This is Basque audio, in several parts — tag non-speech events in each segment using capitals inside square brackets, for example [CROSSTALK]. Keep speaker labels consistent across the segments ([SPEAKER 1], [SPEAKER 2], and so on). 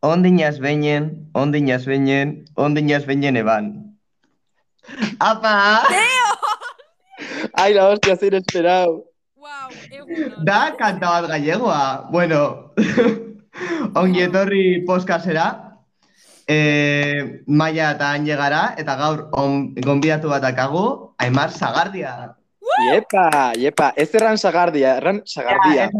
[SPEAKER 1] Ondinaz beinen, ondinaz beinen, ondinaz beinen eban. ¡Apa!
[SPEAKER 2] Ay, la hostia, ser esperado.
[SPEAKER 3] Wow, egunon.
[SPEAKER 1] Da kanta bat gallegoa. ah. Bueno, [LAUGHS] ongi etorri poskasera. E, maia eta han llegara, eta gaur on, gonbidatu bat dakagu, Aimar Zagardia.
[SPEAKER 2] Yepa, yepa. Ez erran sagardia, erran sagardia.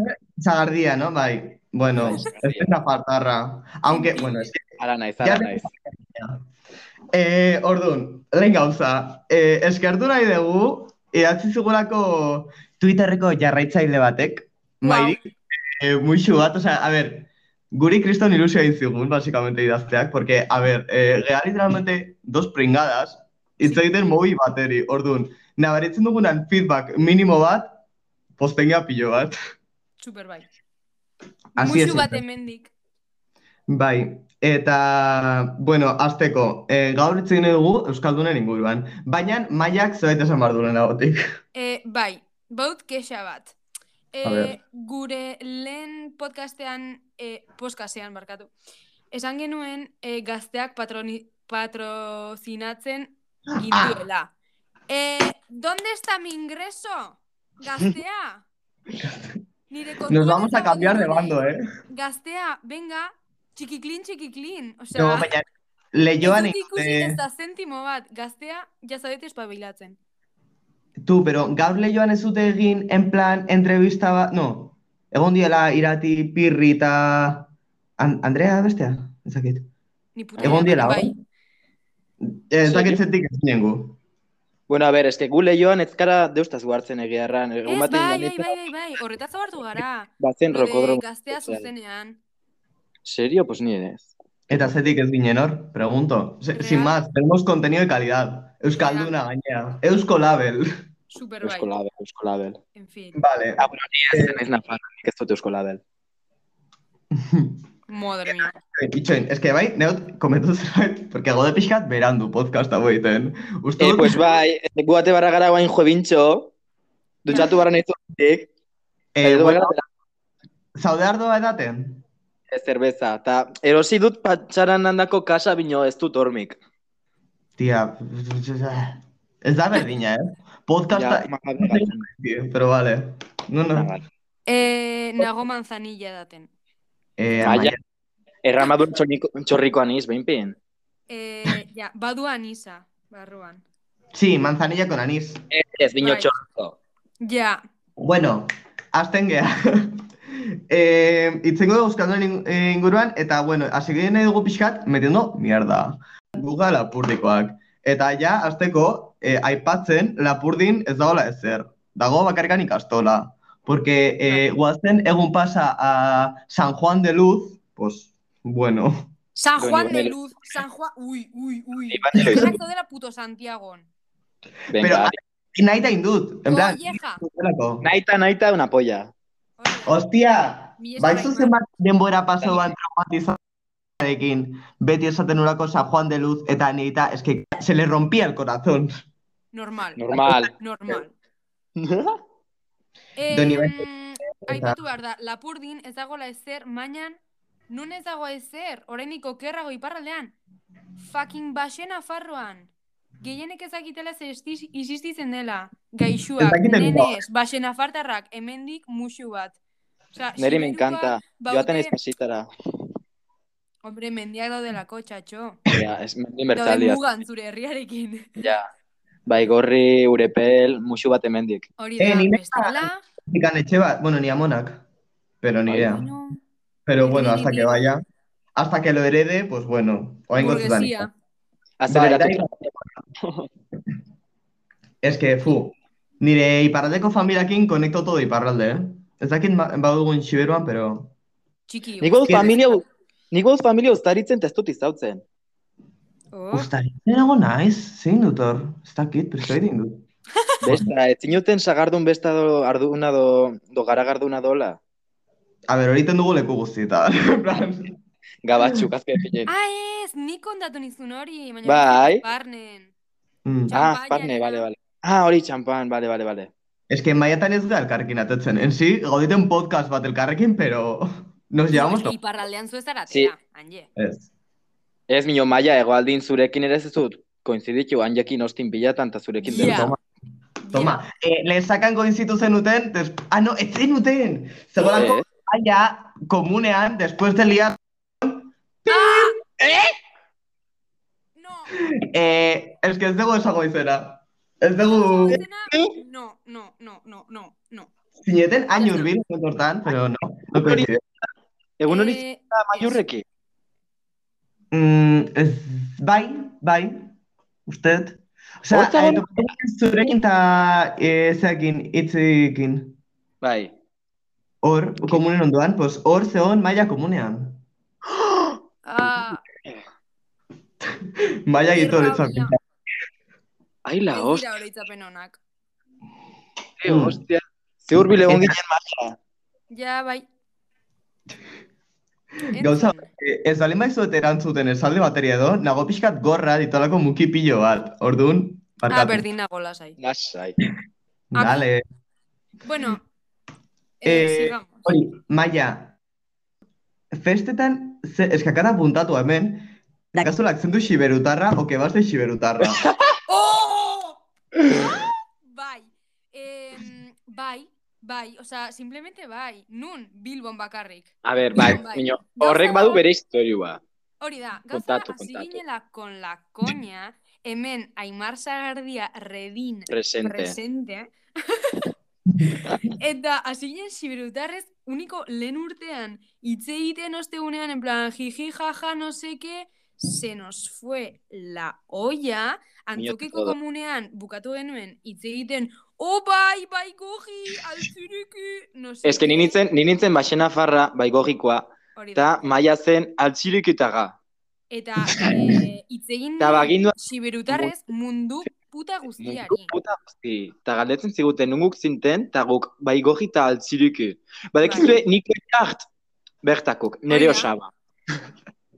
[SPEAKER 1] Zagardia, no? Bai. Bueno, ez da faltarra. Aunque, bueno, es
[SPEAKER 2] Ara naiz,
[SPEAKER 1] Ja,
[SPEAKER 2] ara naiz.
[SPEAKER 1] E, orduan, lehen gauza, e, eskertu nahi dugu, idatzi zigulako Twitterreko jarraitzaile batek,
[SPEAKER 3] Wow.
[SPEAKER 1] mairik, e, muixu bat, osea, a ber, guri kriston ilusioa intzigun, básicamente idazteak, porque, a ber, e, geha literalmente dos pringadas, hitz egiten mobi bateri, orduan, nabaritzen dugunan feedback minimo bat, postengia pilo bat.
[SPEAKER 3] Super bai.
[SPEAKER 1] Así es
[SPEAKER 3] Muxu bat
[SPEAKER 1] simple.
[SPEAKER 3] hemendik.
[SPEAKER 1] Bai, eta, bueno, azteko, e, gaur hitz egin nahi dugu Euskaldunen inguruan, baina maiak zerbait esan behar duen agotik.
[SPEAKER 3] Eh, bai, baut kexa bat.
[SPEAKER 1] A
[SPEAKER 3] Eh,
[SPEAKER 1] ber.
[SPEAKER 3] gure lehen podcastean, eh, podcastean barkatu. Esan genuen eh, gazteak patroni, patrozinatzen
[SPEAKER 1] Ah.
[SPEAKER 3] gintuela. Eh, ¿Dónde está mi ingreso?
[SPEAKER 1] [LAUGHS]
[SPEAKER 3] Gaztea? Nire
[SPEAKER 1] Nos
[SPEAKER 3] kontuan
[SPEAKER 1] vamos a
[SPEAKER 3] esango
[SPEAKER 1] cambiar de
[SPEAKER 3] dut hori.
[SPEAKER 1] bando, eh?
[SPEAKER 3] Gaztea, venga, txikiklin, txikiklin. O sea,
[SPEAKER 1] No, baina, lehioan
[SPEAKER 3] ez dut ikusi
[SPEAKER 1] eh,
[SPEAKER 3] ez da zentimo bat. Gaztea, jazabete espabilatzen.
[SPEAKER 1] tu, pero gaur lehioan ez dute egin, en plan, entrevista bat, no, egon diela irati, pirri eta... An Andrea bestea? Ezakit.
[SPEAKER 3] Ni puta
[SPEAKER 1] Egon
[SPEAKER 3] idea,
[SPEAKER 1] diela,
[SPEAKER 3] bai.
[SPEAKER 1] hor? Eh, Ezakit
[SPEAKER 2] Serio?
[SPEAKER 1] zetik ez nengu.
[SPEAKER 2] Bueno, a ber, eske gu lehioan ez gara deustaz guartzen egia erran.
[SPEAKER 3] Ez,
[SPEAKER 2] Egun
[SPEAKER 3] bai,
[SPEAKER 2] baten
[SPEAKER 3] bai,
[SPEAKER 2] gainera
[SPEAKER 3] bai, bai, bai. Horretaz abartu gara.
[SPEAKER 2] bazen
[SPEAKER 3] Gure
[SPEAKER 2] rokodromo.
[SPEAKER 3] gaztea
[SPEAKER 2] sozial.
[SPEAKER 3] zuzenean.
[SPEAKER 2] Serio, pues ni ere ez.
[SPEAKER 1] Eta zetik ez ginen hor, pregunto. Se-
[SPEAKER 3] Real.
[SPEAKER 1] sin más, tenemos contenido de calidad. Euskalduna gainera. Eusko label. [LAUGHS]
[SPEAKER 3] Super bai.
[SPEAKER 2] Eusko Label, Eusko Label.
[SPEAKER 3] En fin.
[SPEAKER 1] Vale.
[SPEAKER 2] Ah, bueno, ni ez naiz nafarra, nik ez dut Eusko Label.
[SPEAKER 3] Madre mía.
[SPEAKER 1] Itxoin, eske bai, neot, komentu zerbait, porque gode pixkat berandu podcast hau egiten. Uste
[SPEAKER 2] Eh,
[SPEAKER 1] dut,
[SPEAKER 2] pues bai, eh, gu ate barra gara guain jobintxo, dutxatu barra nahi zutik,
[SPEAKER 1] eh,
[SPEAKER 2] eh,
[SPEAKER 1] bueno, zaude ardoa edaten?
[SPEAKER 2] zerbeza, eta erosi dut patxaran handako kasa bino ez dut hormik.
[SPEAKER 1] Tia, ez da berdina, eh? Podcasta,
[SPEAKER 2] makabegatzen.
[SPEAKER 1] pero vale. No, no.
[SPEAKER 3] Eh, nago manzanilla daten.
[SPEAKER 1] Eh,
[SPEAKER 2] Maia.
[SPEAKER 1] amaia,
[SPEAKER 2] Erramadun txorriko aniz, behinpien.
[SPEAKER 3] Eh, ja, badu anisa, barruan.
[SPEAKER 1] sí, manzanilla con anís.
[SPEAKER 2] Ez, ez, bino
[SPEAKER 3] Bai.
[SPEAKER 2] txorriko.
[SPEAKER 3] Ja,
[SPEAKER 1] Bueno, azten geha. [LAUGHS] eh, itzengo dugu Euskaldunen ing- eh, inguruan, eta bueno, hasi ginen nahi dugu pixkat, metiendo mierda. Guga lapurdikoak. Eta ja, azteko, eh, aipatzen, lapurdin ez daola ezer. Dago bakarrikan ikastola. Porque eh, guazten egun pasa a San Juan de Luz, pues, bueno, [LAUGHS]
[SPEAKER 3] San
[SPEAKER 2] Doni
[SPEAKER 3] Juan de
[SPEAKER 2] Bonero.
[SPEAKER 3] Luz, San Juan, uy, uy, uy.
[SPEAKER 2] Iban ere
[SPEAKER 3] Gerrak
[SPEAKER 2] izan.
[SPEAKER 3] zaudela puto Santiagon.
[SPEAKER 1] Pero-
[SPEAKER 2] Venga,
[SPEAKER 1] nahi da indut, en plan,
[SPEAKER 3] Kolleja.
[SPEAKER 1] zelako.
[SPEAKER 2] ah, naita, naita, una polla.
[SPEAKER 3] Hori da.
[SPEAKER 1] Ostia,
[SPEAKER 3] Mila esker,
[SPEAKER 1] baizu
[SPEAKER 3] Aimar.
[SPEAKER 1] ba, zenbat denbora paso ban traumatizarekin, beti esaten urako San Juan de Luz, eta nita, eske, se le rompía el corazón.
[SPEAKER 3] Normal,
[SPEAKER 2] [LAUGHS] Normal.
[SPEAKER 3] normal.
[SPEAKER 1] Doni
[SPEAKER 3] Eh,
[SPEAKER 1] Benito.
[SPEAKER 3] aipatu behar da, lapurdin ez dagoela ezer, mainan, nun ez dago ezer, oraindik okerrago iparraldean, fucking baxen afarroan. Gehienek ezakitela zer estiz- existitzen dela, gaixuak,
[SPEAKER 1] Ez dakite
[SPEAKER 3] nenez, baxen afartarrak, hemendik musu bat. Osea,
[SPEAKER 2] Neri me
[SPEAKER 3] Siberuan
[SPEAKER 2] encanta. Joaten
[SPEAKER 3] baute-
[SPEAKER 2] ez [LAUGHS] pasitara.
[SPEAKER 3] Hombre, mendiak daudelako, txatxo.
[SPEAKER 2] Ja, ez
[SPEAKER 3] Dauden
[SPEAKER 2] mendin bertaldia.
[SPEAKER 3] mugan zure herriarekin.
[SPEAKER 2] Ja. Bai, gorri, urepel, musu bat emendik.
[SPEAKER 3] Hori
[SPEAKER 1] Eh,
[SPEAKER 3] da,
[SPEAKER 1] ni nena-
[SPEAKER 3] bestela,
[SPEAKER 1] Ikan etxe bat, bueno, ni amonak, pero ni idea.
[SPEAKER 3] baino,
[SPEAKER 1] Pero bueno, hasta
[SPEAKER 3] Ni-
[SPEAKER 1] que vaya, hasta que lo herede, pues bueno, oain gozutan.
[SPEAKER 3] burgesia.
[SPEAKER 2] Azeleratu.
[SPEAKER 1] Bai, Eske, fu, nire iparraldeko familiakin konekto todo iparralde, eh? Ez dakit ma- badugun xiberuan, pero...
[SPEAKER 3] Txiki.
[SPEAKER 2] Nik baut familia, nik baut familia ustaritzen testut izautzen.
[SPEAKER 3] Oh.
[SPEAKER 1] Ustari, nago naiz, zein dut hor, ez dakit, pero zein dut.
[SPEAKER 2] Besta, ez zinuten sagardun besta do, arduna do, do garagarduna dola.
[SPEAKER 1] A ber, hori iten dugu leku guztietan. [LAUGHS] en plan,
[SPEAKER 2] Gabatxuk,
[SPEAKER 3] [LAUGHS]
[SPEAKER 2] azke pinen.
[SPEAKER 3] Ah, ez, nik kontatu nizun hori, baina
[SPEAKER 2] Bai.
[SPEAKER 3] ez barnen.
[SPEAKER 1] mm.
[SPEAKER 2] Ah,
[SPEAKER 3] Champaña,
[SPEAKER 2] parne,
[SPEAKER 3] nena.
[SPEAKER 2] bale, bale. Ah, hori txampan, bale, bale, bale.
[SPEAKER 1] Es que maiatan ez da elkarrekin atetzen. En si, gauditen podcast bat elkarrekin, pero... Nos llevamos... to-
[SPEAKER 3] Iparraldean zu ez zara
[SPEAKER 2] Sí.
[SPEAKER 3] atera, hanje.
[SPEAKER 1] Ez.
[SPEAKER 2] Ez mino maia, egoaldin zurekin ere ez dut koinciditu hanjekin ostin bilatan eta zurekin
[SPEAKER 3] Ia.
[SPEAKER 2] bertan.
[SPEAKER 1] Toma, eh, lehesakan koinzitu zenuten, des... ah, no, ez zenuten! Zegoelako,
[SPEAKER 2] Eh,
[SPEAKER 1] allá, komunean, después de liar,
[SPEAKER 3] No,
[SPEAKER 1] eh, es que ez dugu esango izena. Ez dugu,
[SPEAKER 3] zena- no, no, no, no, no, no.
[SPEAKER 1] zineten, hain urbil, hortan, pero no, no coincide.
[SPEAKER 2] Egun hori
[SPEAKER 3] Eh,
[SPEAKER 2] zara maiurrekin.
[SPEAKER 1] Mm, ez, bai, bai, usted. Osea,
[SPEAKER 2] Horta
[SPEAKER 1] eh, topatu zurekin eta eh, zeakin, hitzekin.
[SPEAKER 2] Bai.
[SPEAKER 1] Hor, komunen ondoan, pues, hor zeon maila komunean.
[SPEAKER 3] ah,
[SPEAKER 1] Maila
[SPEAKER 3] Qué
[SPEAKER 1] gitor,
[SPEAKER 3] rabia.
[SPEAKER 2] Ai,
[SPEAKER 3] ez
[SPEAKER 2] la
[SPEAKER 3] dira
[SPEAKER 2] hostia,
[SPEAKER 3] oroitzapen onak.
[SPEAKER 1] Mm.
[SPEAKER 2] hostia. Ze hurbil egon ginen maia.
[SPEAKER 3] Ja, bai.
[SPEAKER 1] [LAUGHS] Gauza-
[SPEAKER 3] Entzun.
[SPEAKER 1] Eh, Ez bali maizuet erantzuten esalde bateria edo, nago pixkat gorra ditolako muki pilo bat, orduan,
[SPEAKER 3] Ah,
[SPEAKER 1] barkatu.
[SPEAKER 3] berdin nago lasai.
[SPEAKER 2] Lasai.
[SPEAKER 3] Ah.
[SPEAKER 1] Dale,
[SPEAKER 3] Bueno,
[SPEAKER 1] Eh,
[SPEAKER 3] eh,
[SPEAKER 1] [LAUGHS]
[SPEAKER 3] sigamos.
[SPEAKER 1] hori, maia, festetan, ze, eskakara puntatu hemen, kasu lakzendu xiberutarra, oke bazte
[SPEAKER 3] [LAUGHS]
[SPEAKER 1] xiberutarra.
[SPEAKER 3] ¡Oh! bai. Em, bai, bai, osea, simplemente bai. Nun Bilbon bakarrik.
[SPEAKER 2] A ber, bai,
[SPEAKER 3] Bai.
[SPEAKER 2] miño, horrek badu bere historiua.
[SPEAKER 3] Hori da, gauza
[SPEAKER 2] Kontatu,
[SPEAKER 3] da, hasi
[SPEAKER 2] kontatu.
[SPEAKER 3] ginela con la coña, hemen Aimar Sagardia Redin
[SPEAKER 2] Presente.
[SPEAKER 3] presente.
[SPEAKER 2] [LAUGHS]
[SPEAKER 3] Eta hasi ginen siberutarrez uniko lehen urtean hitz egiten ostegunean en plan jiji jaja no seke se nos fue la olla antzokiko
[SPEAKER 2] todo.
[SPEAKER 3] komunean bukatu genuen hitz egiten oh bai bai goji altzuriki no seke
[SPEAKER 2] Ez que ni nintzen, ni nintzen baxena farra, baigogikoa,
[SPEAKER 3] Hori da.
[SPEAKER 2] eta maia zen altxirikitaga.
[SPEAKER 3] Eta eh, hitz egin
[SPEAKER 2] Bai. Eta bagindua-
[SPEAKER 3] siberutarrez mundu puta
[SPEAKER 2] Mundu
[SPEAKER 3] guztiari.
[SPEAKER 2] puta guzti. Eta galdetzen ziguten nunguk zinten, eta guk bai, baigogi eta altziriki.
[SPEAKER 3] Bai.
[SPEAKER 2] Badekizue, nik hart bertakuk, nere
[SPEAKER 3] Oida.
[SPEAKER 2] osaba.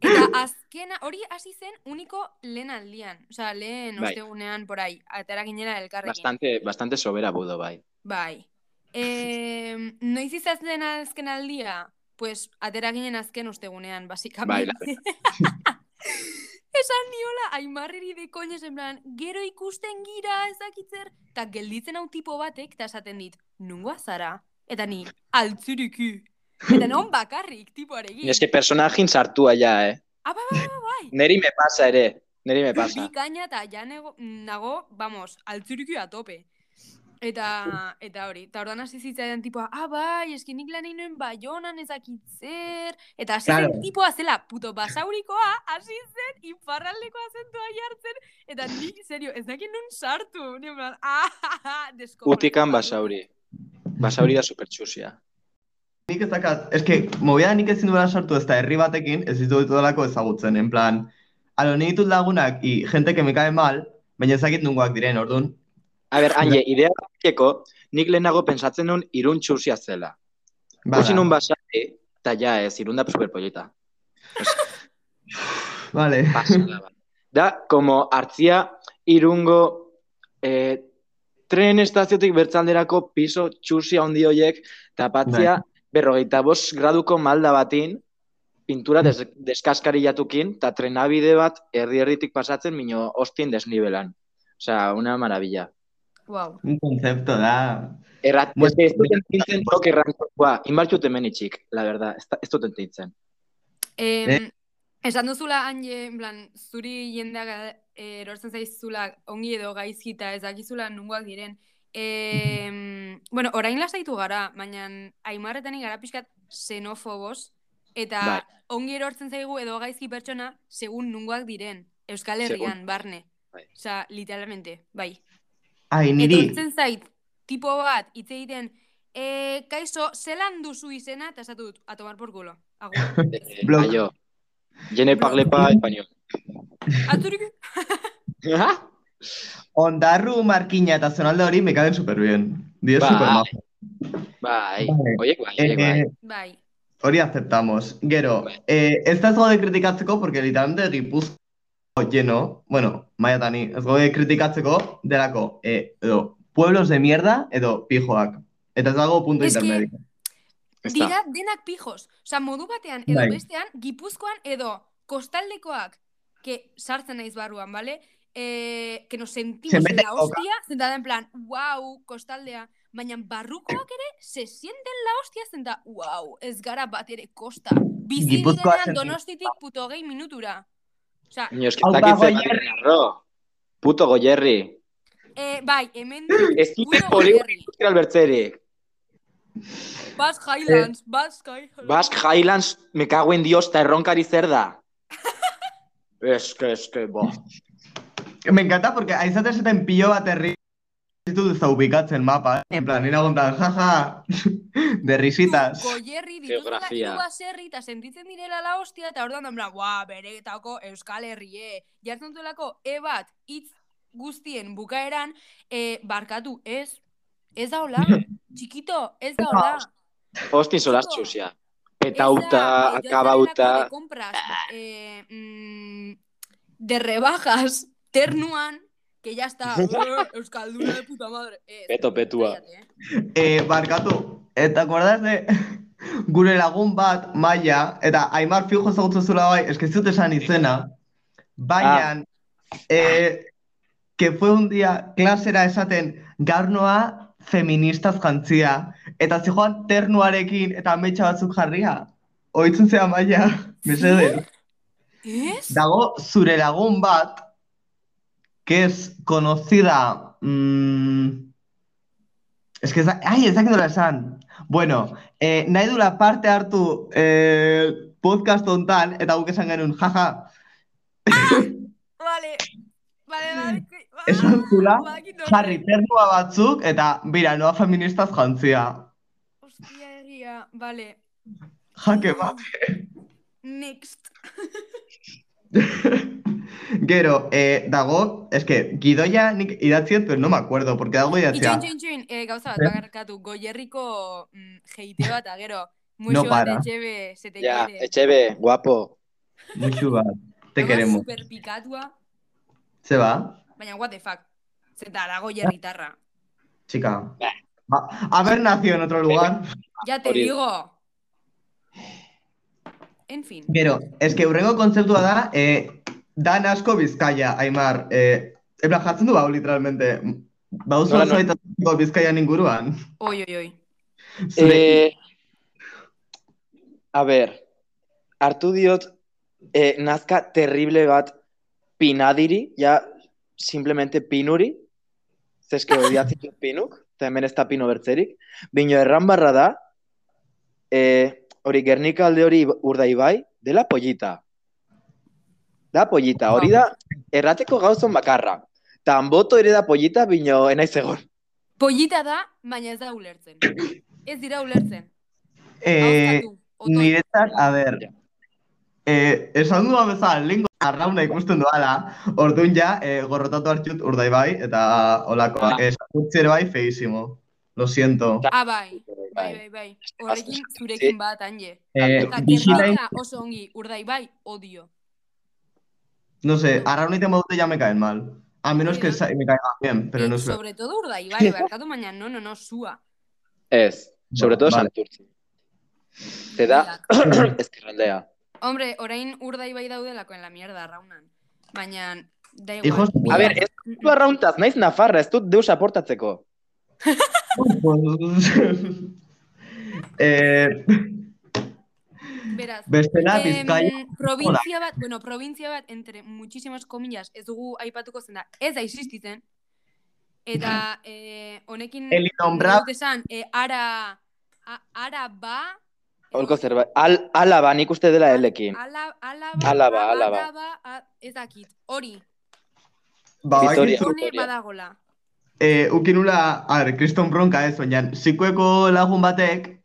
[SPEAKER 3] Eta azkena, hori hasi zen uniko lehen aldian. Osea, lehen
[SPEAKER 2] Bai.
[SPEAKER 3] ostegunean por ahí, atera ginela elkarrekin.
[SPEAKER 2] Bastante, bastante sobera budo, bai.
[SPEAKER 3] Bai. Eh, noiz izatzen azken aldia? Pues, atera ginen azken ostegunean, basikamente. [LAUGHS]
[SPEAKER 2] Bai,
[SPEAKER 3] Esan niola, aimarriri de koñez, en plan, gero ikusten gira ezakitzer, eta gelditzen hau tipo batek, eta esaten dit, nungoa zara? Eta ni, altzuriki. Eta non bakarrik, tipoarekin.
[SPEAKER 2] Eske personajin sartua ja, eh.
[SPEAKER 3] Ah, bai, bai, bai, bai.
[SPEAKER 2] Neri me pasa ere, neri me
[SPEAKER 3] Bi
[SPEAKER 2] pasa.
[SPEAKER 3] kaina eta ja nego- nago, vamos, altzurikio a tope. Eta, eta hori, eta ordan hasi zitzaidan tipoa, ah, bai, eski nik lan egin nuen Baionan ezakitzer, eta hasi
[SPEAKER 1] Claro.
[SPEAKER 3] zen tipoa zela, puto basaurikoa, hasi zen, iparraldeko azentua jartzen, eta nik, serio, ez dakit nun sartu, nire plan, [LAUGHS] ah, ah, ah, deskomponatu
[SPEAKER 2] Utikan
[SPEAKER 3] bat.
[SPEAKER 2] basauri. Basauri da supertxusia.
[SPEAKER 1] Nik ez dakat, eske, movida nik ezin duela sartu ez da herri batekin, ez ditu ditudalako ezagutzen, en plan, alo, ni ditut lagunak, i, gente que me cae mal, baina ezakit nungoak diren, orduan,
[SPEAKER 2] A ber, haine, idea bateko, nik lehenago pensatzen nun irun txusia zela.
[SPEAKER 1] bada.
[SPEAKER 2] Usi nun basari, eta ja ez, irun da superpolleta.
[SPEAKER 1] Vale.
[SPEAKER 2] Pasada bat. Da, como hartzia irungo eh, tren estaziotik bertzalderako piso txusia handi hoiek tapatzia berrogeita bost graduko malda batin, pintura des, deskaskari jatukin, eta trenabide bat erdi-erditik pasatzen, mino ostin desnibelan. Osea, una maravilla.
[SPEAKER 3] Guau.
[SPEAKER 1] Un concepto da.
[SPEAKER 2] Errat,
[SPEAKER 1] Bueno,
[SPEAKER 2] ez, ez duten tintzen toke errantzua, inbaltxut hemen itxik, la verdad, ez, da- ez duten tintzen.
[SPEAKER 3] Em,
[SPEAKER 1] Eh.
[SPEAKER 3] Esan duzula, Anje, en plan, zuri jendeak eh, erortzen zaizula ongi edo gaizkita ez dakizula nungoak diren. Em, bueno, orain lasaitu gara, baina aimarretan gara pixkat xenofobos, eta
[SPEAKER 2] Bai.
[SPEAKER 3] ongi erortzen zaigu edo gaizki pertsona segun nungoak diren, Euskal
[SPEAKER 2] Segun.
[SPEAKER 3] Herrian, barne.
[SPEAKER 2] Bai.
[SPEAKER 3] Osea, literalmente, bai.
[SPEAKER 1] Ai, niri.
[SPEAKER 3] Etortzen zait, tipo bat, hitz egiten, eh, kaizo, zelan duzu izena, eta esatu dut, a tomar por culo.
[SPEAKER 2] [LAUGHS]
[SPEAKER 3] Agur.
[SPEAKER 2] Eh,
[SPEAKER 1] Blok.
[SPEAKER 2] Aio, jene
[SPEAKER 3] Blok.
[SPEAKER 2] parle pa español. [LAUGHS]
[SPEAKER 3] Atzurik
[SPEAKER 1] Ondarru, Markina eta zonalde hori me caen super bien. Die
[SPEAKER 2] Ba,
[SPEAKER 1] super majo.
[SPEAKER 2] Bai,
[SPEAKER 1] Bai.
[SPEAKER 2] oiek bai,
[SPEAKER 1] Eh,
[SPEAKER 2] oiek bai.
[SPEAKER 1] eh,
[SPEAKER 3] Bai.
[SPEAKER 1] hori aceptamos. Gero,
[SPEAKER 2] Bai.
[SPEAKER 1] eh, ez da ez gaude kritikatzeko, porque literalmente Gipuzko lleno, bueno, maiatani, ez gaude kritikatzeko delako, eh, edo, pueblos de mierda, edo pijoak. Eta ez dago punto
[SPEAKER 3] Es que-
[SPEAKER 1] intermedio.
[SPEAKER 2] Ez da.
[SPEAKER 3] Dira denak pijos. Osa, modu batean edo
[SPEAKER 1] Bai.
[SPEAKER 3] bestean, gipuzkoan edo kostaldekoak, que sartzen naiz barruan, bale? Eh, que nos sentimos
[SPEAKER 1] Zenbait
[SPEAKER 3] en la
[SPEAKER 1] dauka.
[SPEAKER 3] hostia, zentada en plan, wow, kostaldea. Baina barrukoak ere, se sienten la hostia, zenta, wow, ez gara bat ere kosta. Bizi
[SPEAKER 1] Gipuzkoa
[SPEAKER 3] direnean
[SPEAKER 1] sentitu-
[SPEAKER 3] donostitik puto gehi minutura. Osa,
[SPEAKER 2] Baina eski,
[SPEAKER 1] Hau da,
[SPEAKER 2] dakit zer
[SPEAKER 1] Goierri.
[SPEAKER 2] egin arro. Puto goierri.
[SPEAKER 3] eh, bai,
[SPEAKER 1] [LAUGHS]
[SPEAKER 3] hemen
[SPEAKER 2] Ez dute
[SPEAKER 3] Puto
[SPEAKER 2] poligono
[SPEAKER 3] goierri.
[SPEAKER 2] industrial bertzerik.
[SPEAKER 3] Basque
[SPEAKER 1] Eh,
[SPEAKER 3] Highlands, Basque Highlands.
[SPEAKER 2] Basque Highlands, me cago en Dios, ta erronkari zer da. Es que, es que, bo.
[SPEAKER 1] Me encanta porque ahí se te seten pillo bat herri ditu desubicatzen mapa, eh? en plan, nina gontan, jaja, [LAUGHS] de risitas.
[SPEAKER 3] Goierri dituzula
[SPEAKER 2] Geografia.
[SPEAKER 3] hiru baserri eta sentitzen direla la hostia eta orduan dan plan, "Buah, beretako Euskal Herrie." Jartzen dutelako e bat hitz guztien bukaeran, eh, barkatu, ez. Ez da hola.
[SPEAKER 2] Hmm.
[SPEAKER 3] Txikito, ez da hola.
[SPEAKER 2] Ostin solaz
[SPEAKER 3] Chico.
[SPEAKER 2] txusia.
[SPEAKER 3] Ez da,
[SPEAKER 2] Eta
[SPEAKER 3] eh,
[SPEAKER 2] uta,
[SPEAKER 3] joan zarelako
[SPEAKER 2] akabauta.
[SPEAKER 3] De compras, eh, mm, de rebajas, ternuan, que ya está. eh, Euskalduna de puta madre. Ez,
[SPEAKER 2] Peto petua.
[SPEAKER 3] cállate, eh.
[SPEAKER 1] Eh, barkatu, eh, ¿te acuerdas de [LAUGHS] gure lagun bat, Maia, eta Aimar Fijo ezagutzen zula bai, eske ez dut esan izena, baina, eh, que fue un día klasera esaten garnoa feministaz jantzia, eta zijoan ternuarekin eta ametsa batzuk jarria. Oitzen zea Maia, [LAUGHS] mesedez.
[SPEAKER 3] Ez?
[SPEAKER 1] Dago zure lagun bat, que es conocida... mm, es que ez da... Ai, ez dakit nola esan. Bueno, eh, nahi dula parte hartu eh, podcast hontan, eta guk esan genuen, jaja,
[SPEAKER 3] Vale. Vale, vale. que-
[SPEAKER 1] esan
[SPEAKER 3] Ah,
[SPEAKER 1] zula,
[SPEAKER 3] badakit nola.
[SPEAKER 1] jarri ternua batzuk, eta bira, noa feministaz jantzia.
[SPEAKER 3] Ostia egia, vale.
[SPEAKER 1] Jake bat.
[SPEAKER 3] Next.
[SPEAKER 1] Gero, eh, dago, eske, gidoia nik idatziet, pero no me acuerdo, porque dago idatzia.
[SPEAKER 3] Itxoin, itxoin, itxoin, eh, gauza bat
[SPEAKER 1] Eh?
[SPEAKER 3] bakarkatu, goierriko mm, jeite bat, agero,
[SPEAKER 1] [LAUGHS] No
[SPEAKER 3] muxo bat
[SPEAKER 1] para.
[SPEAKER 3] etxebe, se te
[SPEAKER 2] Ja,
[SPEAKER 3] quiere.
[SPEAKER 2] etxebe, guapo.
[SPEAKER 1] Muxu bat, te
[SPEAKER 3] Además,
[SPEAKER 1] queremos.
[SPEAKER 3] superpikatua,
[SPEAKER 1] Se va.
[SPEAKER 3] baina what the fuck, zeta da goierritarra.
[SPEAKER 1] Chica.
[SPEAKER 2] Bah.
[SPEAKER 1] A- haber nacido en otro lugar.
[SPEAKER 3] Ya te
[SPEAKER 2] Hori.
[SPEAKER 3] digo. En fin.
[SPEAKER 1] Gero, eske hurrengo kontzeptua da, eh, dan asko bizkaia, Aimar. Eh, Ebra jartzen du, hau, literalmente. Bauzu
[SPEAKER 2] Nola, nola?
[SPEAKER 1] zoita bizkaian inguruan.
[SPEAKER 3] Oi, oi, oi.
[SPEAKER 1] Zure-
[SPEAKER 2] Eh, a ber, hartu diot eh, nazka terrible bat pinadiri, ja simplemente pinuri, zeske odiatzen dut pinuk, eta hemen ez da pino bertzerik. Bino erran barra da, eh, hori Gernika alde hori urdaibai, dela pollita. Da pollita, hori da errateko gauzon bakarra. Tan boto ere da pollita, bino enaiz egon.
[SPEAKER 3] Pollita da, baina ez da ulertzen. Ez dira ulertzen.
[SPEAKER 1] eh,
[SPEAKER 3] Ahozkatu, otoi.
[SPEAKER 1] niretzat, a ber,
[SPEAKER 2] Ja.
[SPEAKER 1] eh, esan duan bezala, lingo arrauna ikusten duala, orduan ja, eh, gorrotatu hartxut urdai bai, eta olakoa.
[SPEAKER 2] Ah.
[SPEAKER 1] Eh, Sartutzer bai, feísimo. Lo siento.
[SPEAKER 3] Ah, bai, bai, bai, bai. Horrekin zurekin bat, anje.
[SPEAKER 1] Eh,
[SPEAKER 3] Eta
[SPEAKER 1] bisita-
[SPEAKER 3] gernika oso ongi, urdai bai, odio.
[SPEAKER 1] No sé, Arrauna y Temaute ya me caen mal. A menos que sa- me caigan bien, pero
[SPEAKER 3] Y
[SPEAKER 1] no sé.
[SPEAKER 3] sobre todo
[SPEAKER 1] [LAUGHS]
[SPEAKER 3] Urdaibai, barkatu, baina no, no, no, sua.
[SPEAKER 2] Ez, sobre
[SPEAKER 1] Ba-
[SPEAKER 2] todo
[SPEAKER 1] vale.
[SPEAKER 2] Santurtzi. Te da [CLEARS THROAT] ezkerraldea.
[SPEAKER 3] Hombre, orain Urdaibai daudelako en la mierda, raunan. Baina, da igual.
[SPEAKER 1] Hijos de puta.
[SPEAKER 2] A ber, ez du arrauntaz, naiz Nafarra, ez dut deus aportatzeko.
[SPEAKER 1] [LAUGHS] eh,
[SPEAKER 3] Beraz,
[SPEAKER 1] bestela,
[SPEAKER 3] em,
[SPEAKER 1] Bizkaia,
[SPEAKER 3] provintzia bat, bueno, provintzia bat, entre muchísimas comillas, ez dugu aipatuko zen da, ez da existitzen.
[SPEAKER 1] [LAUGHS]
[SPEAKER 3] Eta, eh, honekin,
[SPEAKER 1] el innombrable,
[SPEAKER 3] dut esan, eh, ara, a, ara ba,
[SPEAKER 2] Holko zerbait. Al, alaba, nik uste dela elekin.
[SPEAKER 3] Ala, alaba,
[SPEAKER 2] Alaba,
[SPEAKER 3] a-
[SPEAKER 2] alaba.
[SPEAKER 3] araba, a- ez dakit, hori,
[SPEAKER 2] Vitoria.
[SPEAKER 1] badakizu,
[SPEAKER 3] une
[SPEAKER 2] Victoria.
[SPEAKER 3] badagola.
[SPEAKER 1] eh, ukinula, a ver, kriston bronka ez, baina, zikueko lagun batek,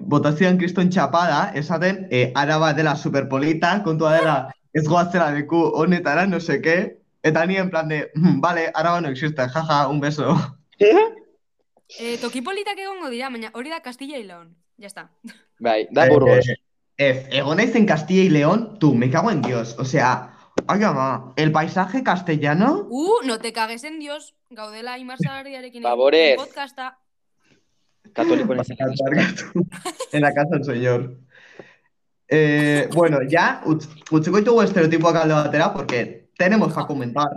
[SPEAKER 1] botazian kriston txapada, esaten, eh, araba dela superpolita, kontua dela, ez goazela leku honetara, no seke, eta ni en plan de, "Hmm, vale, araba no existe, jaja, un beso.
[SPEAKER 3] Eh, tokipolitak egongo dira, baina hori da Castilla y León. Ya está.
[SPEAKER 2] Bai, da burgos.
[SPEAKER 1] Eh, Ez, egon naiz en Castilla y León, tú, me cago en Dios. O sea, ay ama, el paisaje castellano,
[SPEAKER 3] Uh, no te cagues en Dios. Gaudela Imar Sagariarekin egin
[SPEAKER 2] Favorez.
[SPEAKER 1] eh.
[SPEAKER 3] podcasta.
[SPEAKER 2] Católico en
[SPEAKER 1] Para aldargatu. [LAUGHS] en la casa del señor. Eh, bueno, ya, utz- utziko ditugu estereotipoak alde batera, porque tenemos que comentar.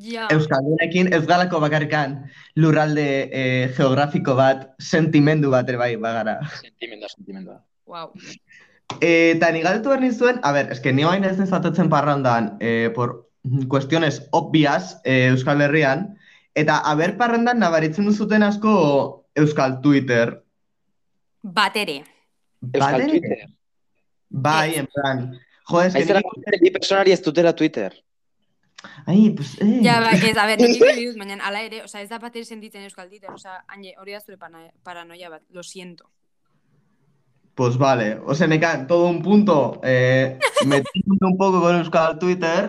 [SPEAKER 3] Ja.
[SPEAKER 1] Euskaldunekin ez galako bakarrikan lurralde eh, geografiko bat, sentimendu bat ere bai bagara.
[SPEAKER 2] Sentimendua, sentimendua.
[SPEAKER 3] Wow.
[SPEAKER 1] Eta ni galdetu behar nizuen, a ber, eske ni oain ez nezatetzen parrandan, eh, por cuestiones obvias eh, Euskal Herrian, eta aber parrandan nabaritzen duzuten asko Euskal Twitter.
[SPEAKER 3] Bat ere.
[SPEAKER 2] Euskal
[SPEAKER 1] Batere?
[SPEAKER 2] Twitter.
[SPEAKER 1] Bai, en plan, jo, eske
[SPEAKER 2] Aizera,
[SPEAKER 1] ni...
[SPEAKER 2] bi personari ez dutela Twitter.
[SPEAKER 1] Ai, pues, eh.
[SPEAKER 3] Ja, ba, ez, a ber, nekiko diduz, baina ala ere, oza, ez da bat ere sentitzen euskal ditor, oza, haine, hori da zure pana- paranoia bat, lo siento.
[SPEAKER 1] Pues vale, o sea, nekan, todo un punto, eh, metiendo un poco con Euskal Twitter,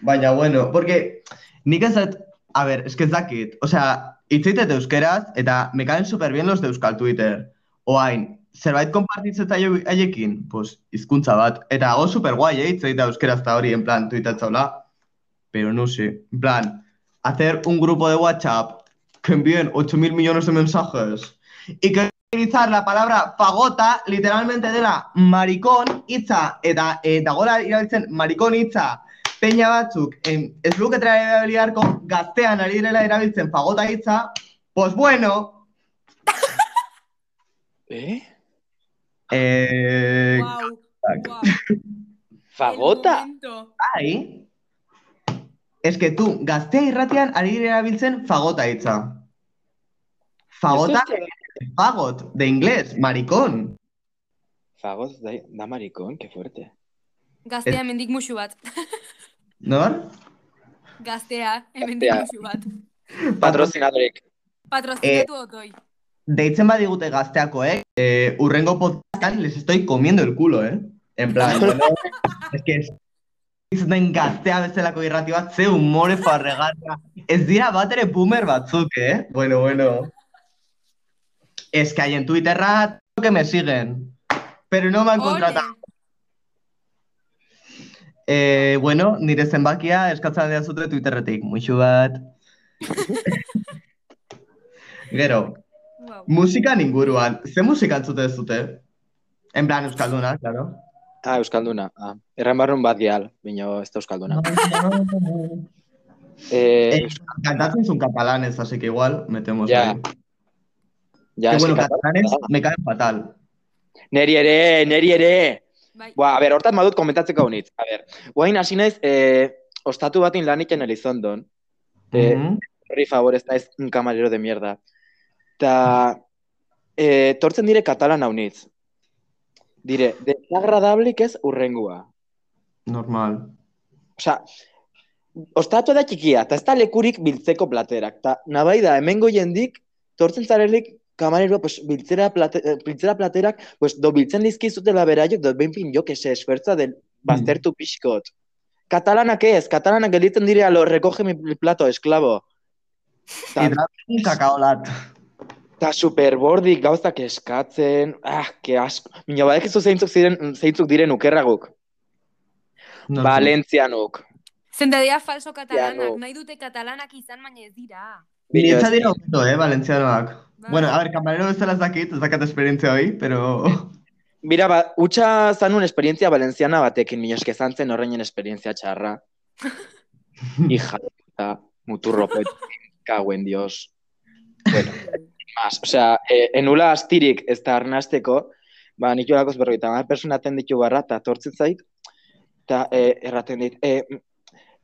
[SPEAKER 1] baina bueno, porque nik ez dut, a ver, es que ez dakit, o sea, itzitet euskeraz, eta me caen super bien los de Euskal Twitter, oain, zerbait kompartitzen zaio haiekin, pues, hizkuntza bat, eta go super guai, eh, itzita euskeraz eta hori, en plan, tuitatzaula, pero no sé, en plan, hacer un grupo de WhatsApp que envíen 8.000 millones de mensajes y que utilizar la palabra pagota literalmente dela maricón hitza eta e, dagoela irabiltzen maricón hitza peña batzuk em, ez luketera erabili beharko gaztean ari direla erabiltzen pagota hitza pues bueno
[SPEAKER 2] Eh?
[SPEAKER 1] eh,
[SPEAKER 3] Wow, wow.
[SPEAKER 2] Fagota?
[SPEAKER 1] bai es que tú gaztea irratian ari direla erabiltzen fagota hitza fagota fagot de inglés maricón
[SPEAKER 2] Fagot da, da maricón, que fuerte.
[SPEAKER 3] Gaztea mendik musu bat.
[SPEAKER 1] nor
[SPEAKER 3] Gaztea, hemendik
[SPEAKER 2] Gaztea.
[SPEAKER 3] musu bat.
[SPEAKER 2] Patrocinadorik.
[SPEAKER 3] Patrocinatu otoi.
[SPEAKER 1] deitzen badigute gazteakoek, eh, urrengo podcastan les estoy comiendo el culo, eh? En plan, bueno, es que ez- ez den gaztea bezalako irrati bat, ze humore farregarria. Ez dira bat ere boomer batzuk, eh? Bueno, bueno. Es que hay en Twitterra que me siguen, pero no me han contratado. Eh, bueno, nire zenbakia eskatzen dira zute Twitterretik, muixu bat. Gero,
[SPEAKER 3] Wow.
[SPEAKER 1] Musikan inguruan, ze musika entzute zute? En plan euskalduna, claro.
[SPEAKER 2] Ah, Euskalduna. Ah, erran barrun bat dial, baina ez da Euskalduna. Eh,
[SPEAKER 1] Eh, Kantatzen zuen katalanes, así que igual, metemos
[SPEAKER 2] Ya,
[SPEAKER 1] ahí.
[SPEAKER 2] ja,
[SPEAKER 1] que
[SPEAKER 2] eske
[SPEAKER 1] bueno,
[SPEAKER 2] katal-
[SPEAKER 1] catalanes me caen fatal.
[SPEAKER 2] Neri ere, neri ere.
[SPEAKER 3] Bai.
[SPEAKER 2] Ba, a ber, hortan badut komentatzeko honit. A ber, guain hasi naiz, eh, ostatu batin laniken Elizondon. Eh,
[SPEAKER 1] Mhm.
[SPEAKER 2] Sorry, favor, ez naiz un camarero de mierda. Ta, eh, tortzen dire katalan haunitz. Dire, desagradablik ez urrengua.
[SPEAKER 1] Normal.
[SPEAKER 2] Osa, ostatu da txikia, eta ez da lekurik biltzeko platerak. Ta, nabai da, hemengo jendik, tortzen zarelik, kamareroa, pues, biltzera, plate, eh, biltzera platerak, pues, do biltzen dizkizutela beraiok, do behin pin jok, ese esfuerza del baztertu pixkot. Katalanak ez, katalanak gelditzen dire, lo, recoge mi plato, esklabo. Ta,
[SPEAKER 1] Eta un kakaolat.
[SPEAKER 2] ta superbordik gauzak eskatzen, ah, ke asko. Mino, badekizu zeintzuk, ziren, zeintzuk diren ukerraguk.
[SPEAKER 1] No sé.
[SPEAKER 2] Valentzianuk.
[SPEAKER 3] Zendadea falso katalanak,
[SPEAKER 2] no.
[SPEAKER 3] nahi dute katalanak izan, baina ez dira.
[SPEAKER 1] Ni
[SPEAKER 2] Bino,
[SPEAKER 1] etza
[SPEAKER 2] ez-
[SPEAKER 1] dira hobeto, eh, valentzianoak.
[SPEAKER 3] Bai.
[SPEAKER 1] Bueno, a ver, camarero bezala ez dakit, ez dakat esperientzia hori, pero...
[SPEAKER 2] Mira, ba, utxa zanun esperientzia valenciana batekin, minio eske zan zen horreinen esperientzia txarra. Hija, de puta, muturro pet, cago en dios. Bueno, más, osea, eh, enula astirik ez da arnasteko, ba, nik jolakoz berroita, ma, personaten ditu barra, eta tortzen zait, eta eh, erraten dit, eh,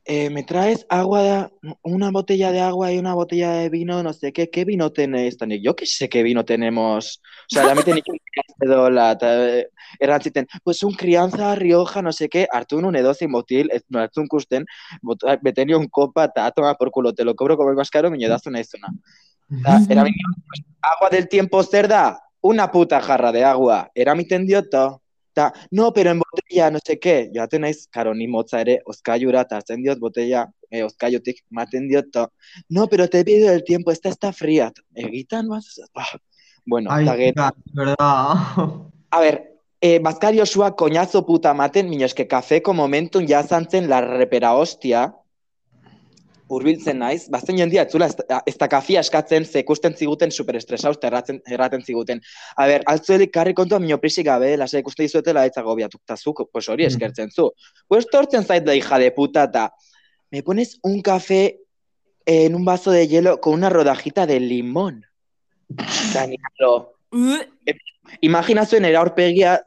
[SPEAKER 2] eh, me traes agua, de- una botella de agua y una botella de vino, no sé qué, ¿qué vino tenéis? Tan, yo que sé qué vino tenemos. O sea, la meten ikin edola, eta eh, erantziten, pues un crianza, rioja, no sé qué, hartu nun edozein botil, ez nun hartun kusten, bota- beten nion kopa, eta toma por culo, te lo cobro como el más caro, miño dazu nahi zuna. Eta, eramin nion, pues, agua del tiempo zer da, una puta jarra de agua, eramiten dioto. Eta, no, pero en botella, no sé qué, joaten naiz, karo, ni motza ere, oskaiura, eta hartzen diot botella, eh, oskaiutik, maten dioto. No, pero te pido el tiempo, esta está fría. Egitan, bas, ah. bueno,
[SPEAKER 1] Ai,
[SPEAKER 2] eta gero-
[SPEAKER 1] da, verdad. [LAUGHS]
[SPEAKER 2] A ber, eh, Bazkari osua koñazo puta maten, minio eske kafeko momentun jazantzen la repera hostia. urbiltzen naiz, bazen jendia etzula ez, ez da kafia eskatzen, ze ikusten ziguten superestresa uste erratzen, erraten ziguten. A ber, altzuelik karri kontua mioprisi gabe, lasa ikuste dizuetela ez agobiatuk, ta zuk, pues hori eskertzen zu. Pues tortzen zait da hija de puta, ta me pones un café en un vaso de hielo con una rodajita de limón. Danilo. Imagina zuen eraurpegia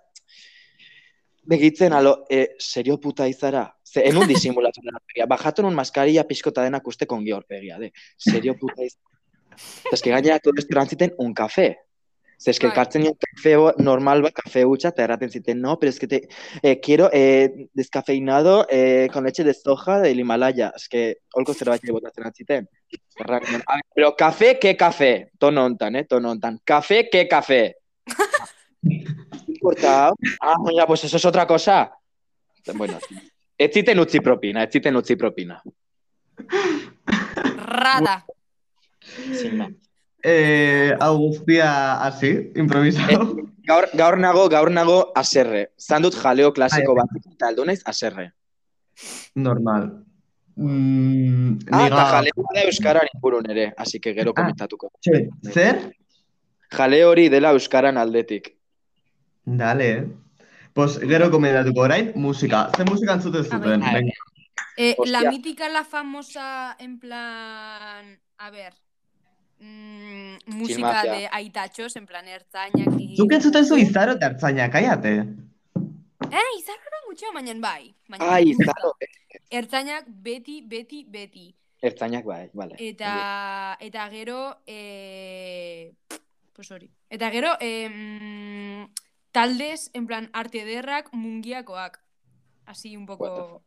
[SPEAKER 2] begitzen, alo, eh, serio puta izara. Ze, enun disimulatu den aurpegia. Bajatu nun maskarilla pixkota denak uste kongi aurpegia, de. Serio puta izara. Eske gainera, todo esto erantziten un café. Ze, eske,
[SPEAKER 3] Bai.
[SPEAKER 2] kartzen nion kafe bo- normal bat, kafe hutsa, eta erraten ziten, no, pero es que te, eh, quiero eh, descafeinado eh, con leche de soja del Himalaya. Eske, holko zerbait botatzen atziten. Erran nion, "A ber, Pero kafe, que kafe. Tono hontan, eh, tono hontan. Kafe, que kafe. Importa. Ah, mira, pues eso es otra cosa. Bueno, [LAUGHS] ez ziten utzi propina, ez ziten utzi propina.
[SPEAKER 3] Rada.
[SPEAKER 2] Sin más.
[SPEAKER 1] Eh, hau guztia hasi, improvisado.
[SPEAKER 2] Gaur, gaur nago, gaur nago aserre. Zan dut jaleo klasiko bat, eta aldu naiz aserre.
[SPEAKER 1] Normal. Mm,
[SPEAKER 2] Ah,
[SPEAKER 1] niga-
[SPEAKER 2] eta jaleo da euskaran ingurun ere, así que gero komentatuko.
[SPEAKER 1] Txe, Zer?
[SPEAKER 2] Jaleo hori dela euskaran aldetik.
[SPEAKER 1] Dale. Pues gero komendatuko orain, musika. Ze musika entzuten zuten?
[SPEAKER 2] A ver.
[SPEAKER 1] Venga.
[SPEAKER 3] Eh,
[SPEAKER 2] Hostia.
[SPEAKER 3] la mítica, la famosa, en plan. A ver. mm, música
[SPEAKER 2] mafia.
[SPEAKER 3] de aitachos, en plan ertzainak.
[SPEAKER 1] Zuk entzuten zu
[SPEAKER 3] Eh,
[SPEAKER 1] izaro eta ertzaina, kaiate.
[SPEAKER 3] izarra gutxo, baina bai. Baina
[SPEAKER 2] Ai,
[SPEAKER 3] gusta.
[SPEAKER 2] zaro. eh,
[SPEAKER 3] Ertzainak beti, beti, beti.
[SPEAKER 2] Ertzainak bai, vale.
[SPEAKER 3] Eta, eta gero, eh, pues hori. Eta gero, em, taldes, en plan, arte ederrak mungiakoak. Así un
[SPEAKER 2] What the
[SPEAKER 3] poco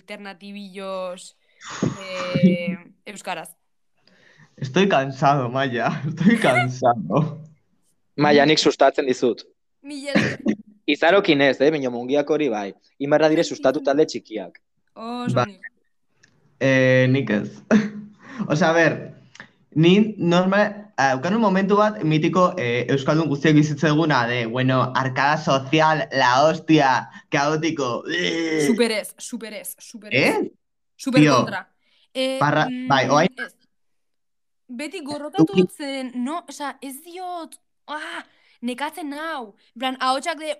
[SPEAKER 3] alternatibillos
[SPEAKER 2] [LAUGHS]
[SPEAKER 3] eh, euskaraz.
[SPEAKER 1] Estoy cansado, Maya. [LAUGHS] Estoy cansado.
[SPEAKER 2] Maia, nik sustatzen dizut.
[SPEAKER 3] Mila esker.
[SPEAKER 2] Izarokin ez, eh, baina mungiak hori bai. Imarra dire sustatu talde txikiak.
[SPEAKER 3] Oso
[SPEAKER 1] Ba.
[SPEAKER 3] ondo.
[SPEAKER 1] eh, nik ez. [LAUGHS] Osea, a ber, ni normal, haukan un momentu bat mitiko eh, Euskaldun guztiak bizitzeguna de, bueno, arkada social, la hostia, kaotiko, eh,
[SPEAKER 3] Super ez, super ez, super ez.
[SPEAKER 1] eh?
[SPEAKER 3] Super
[SPEAKER 1] Tío.
[SPEAKER 3] kontra. Eh,
[SPEAKER 1] Barra-
[SPEAKER 3] mm,
[SPEAKER 1] bai, oain-
[SPEAKER 3] ez. Beti gorrokatu dut zen, no, osea, ez diot, ah, nekatzen nau. En plan, ahotsak de...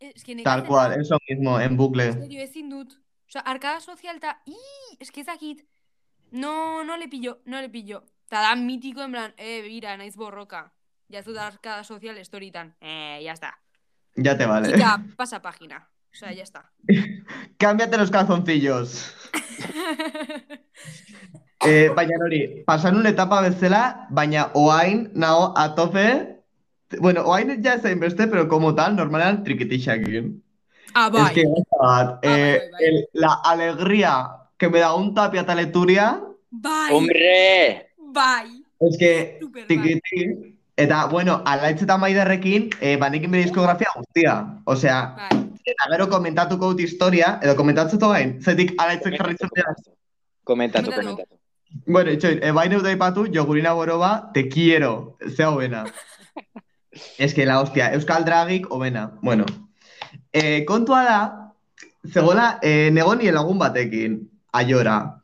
[SPEAKER 3] Es que nekatzen
[SPEAKER 1] Tal cual, eh.
[SPEAKER 3] nau.
[SPEAKER 1] eso mismo, en
[SPEAKER 3] En
[SPEAKER 1] bucle.
[SPEAKER 3] serio, ezin dut. Osea, arkada sozial eta, ii, es que ezakit. No, no le pillo, no le pillo. Eta da mitiko, en plan, eh, bira, naiz borroka. Ya zu da arkada sozial estoritan. Eh, ya está.
[SPEAKER 1] Ya te vale.
[SPEAKER 3] Quita, pasa página. O sea, ya está.
[SPEAKER 1] [LAUGHS] Cámbiate los calzoncillos. Eh, baina hori, pasan una etapa bezala, baina oain nao a tope. Bueno, oain ja ez beste, pero como tal, normalan trikitixakin.
[SPEAKER 3] ah,
[SPEAKER 1] Es
[SPEAKER 3] bai.
[SPEAKER 1] que, bat, eh,
[SPEAKER 3] bai, bai, bai.
[SPEAKER 1] el- la alegría que me da un tapia taleturia,
[SPEAKER 3] Bai,
[SPEAKER 2] Hombre!
[SPEAKER 3] bai.
[SPEAKER 1] es que
[SPEAKER 3] Super bai.
[SPEAKER 1] tikiti, eta, bueno, alaitz eta maiderrekin, eh, banekin bere diskografia guztia. Osea,
[SPEAKER 3] Bai.
[SPEAKER 1] eta gero komentatuko dut historia, edo komentatzuko gain, zetik alaitzek jarritzen dira.
[SPEAKER 3] Komentatu.
[SPEAKER 2] Komentatu, komentatu.
[SPEAKER 1] Bueno, itxoin, e, bain euda ipatu, jogurina boroba, te quiero, ze hobena. es que la hostia, Euskal Dragik hobena, bueno. E, kontua da, zegoela, e, negon nire lagun batekin, aiora.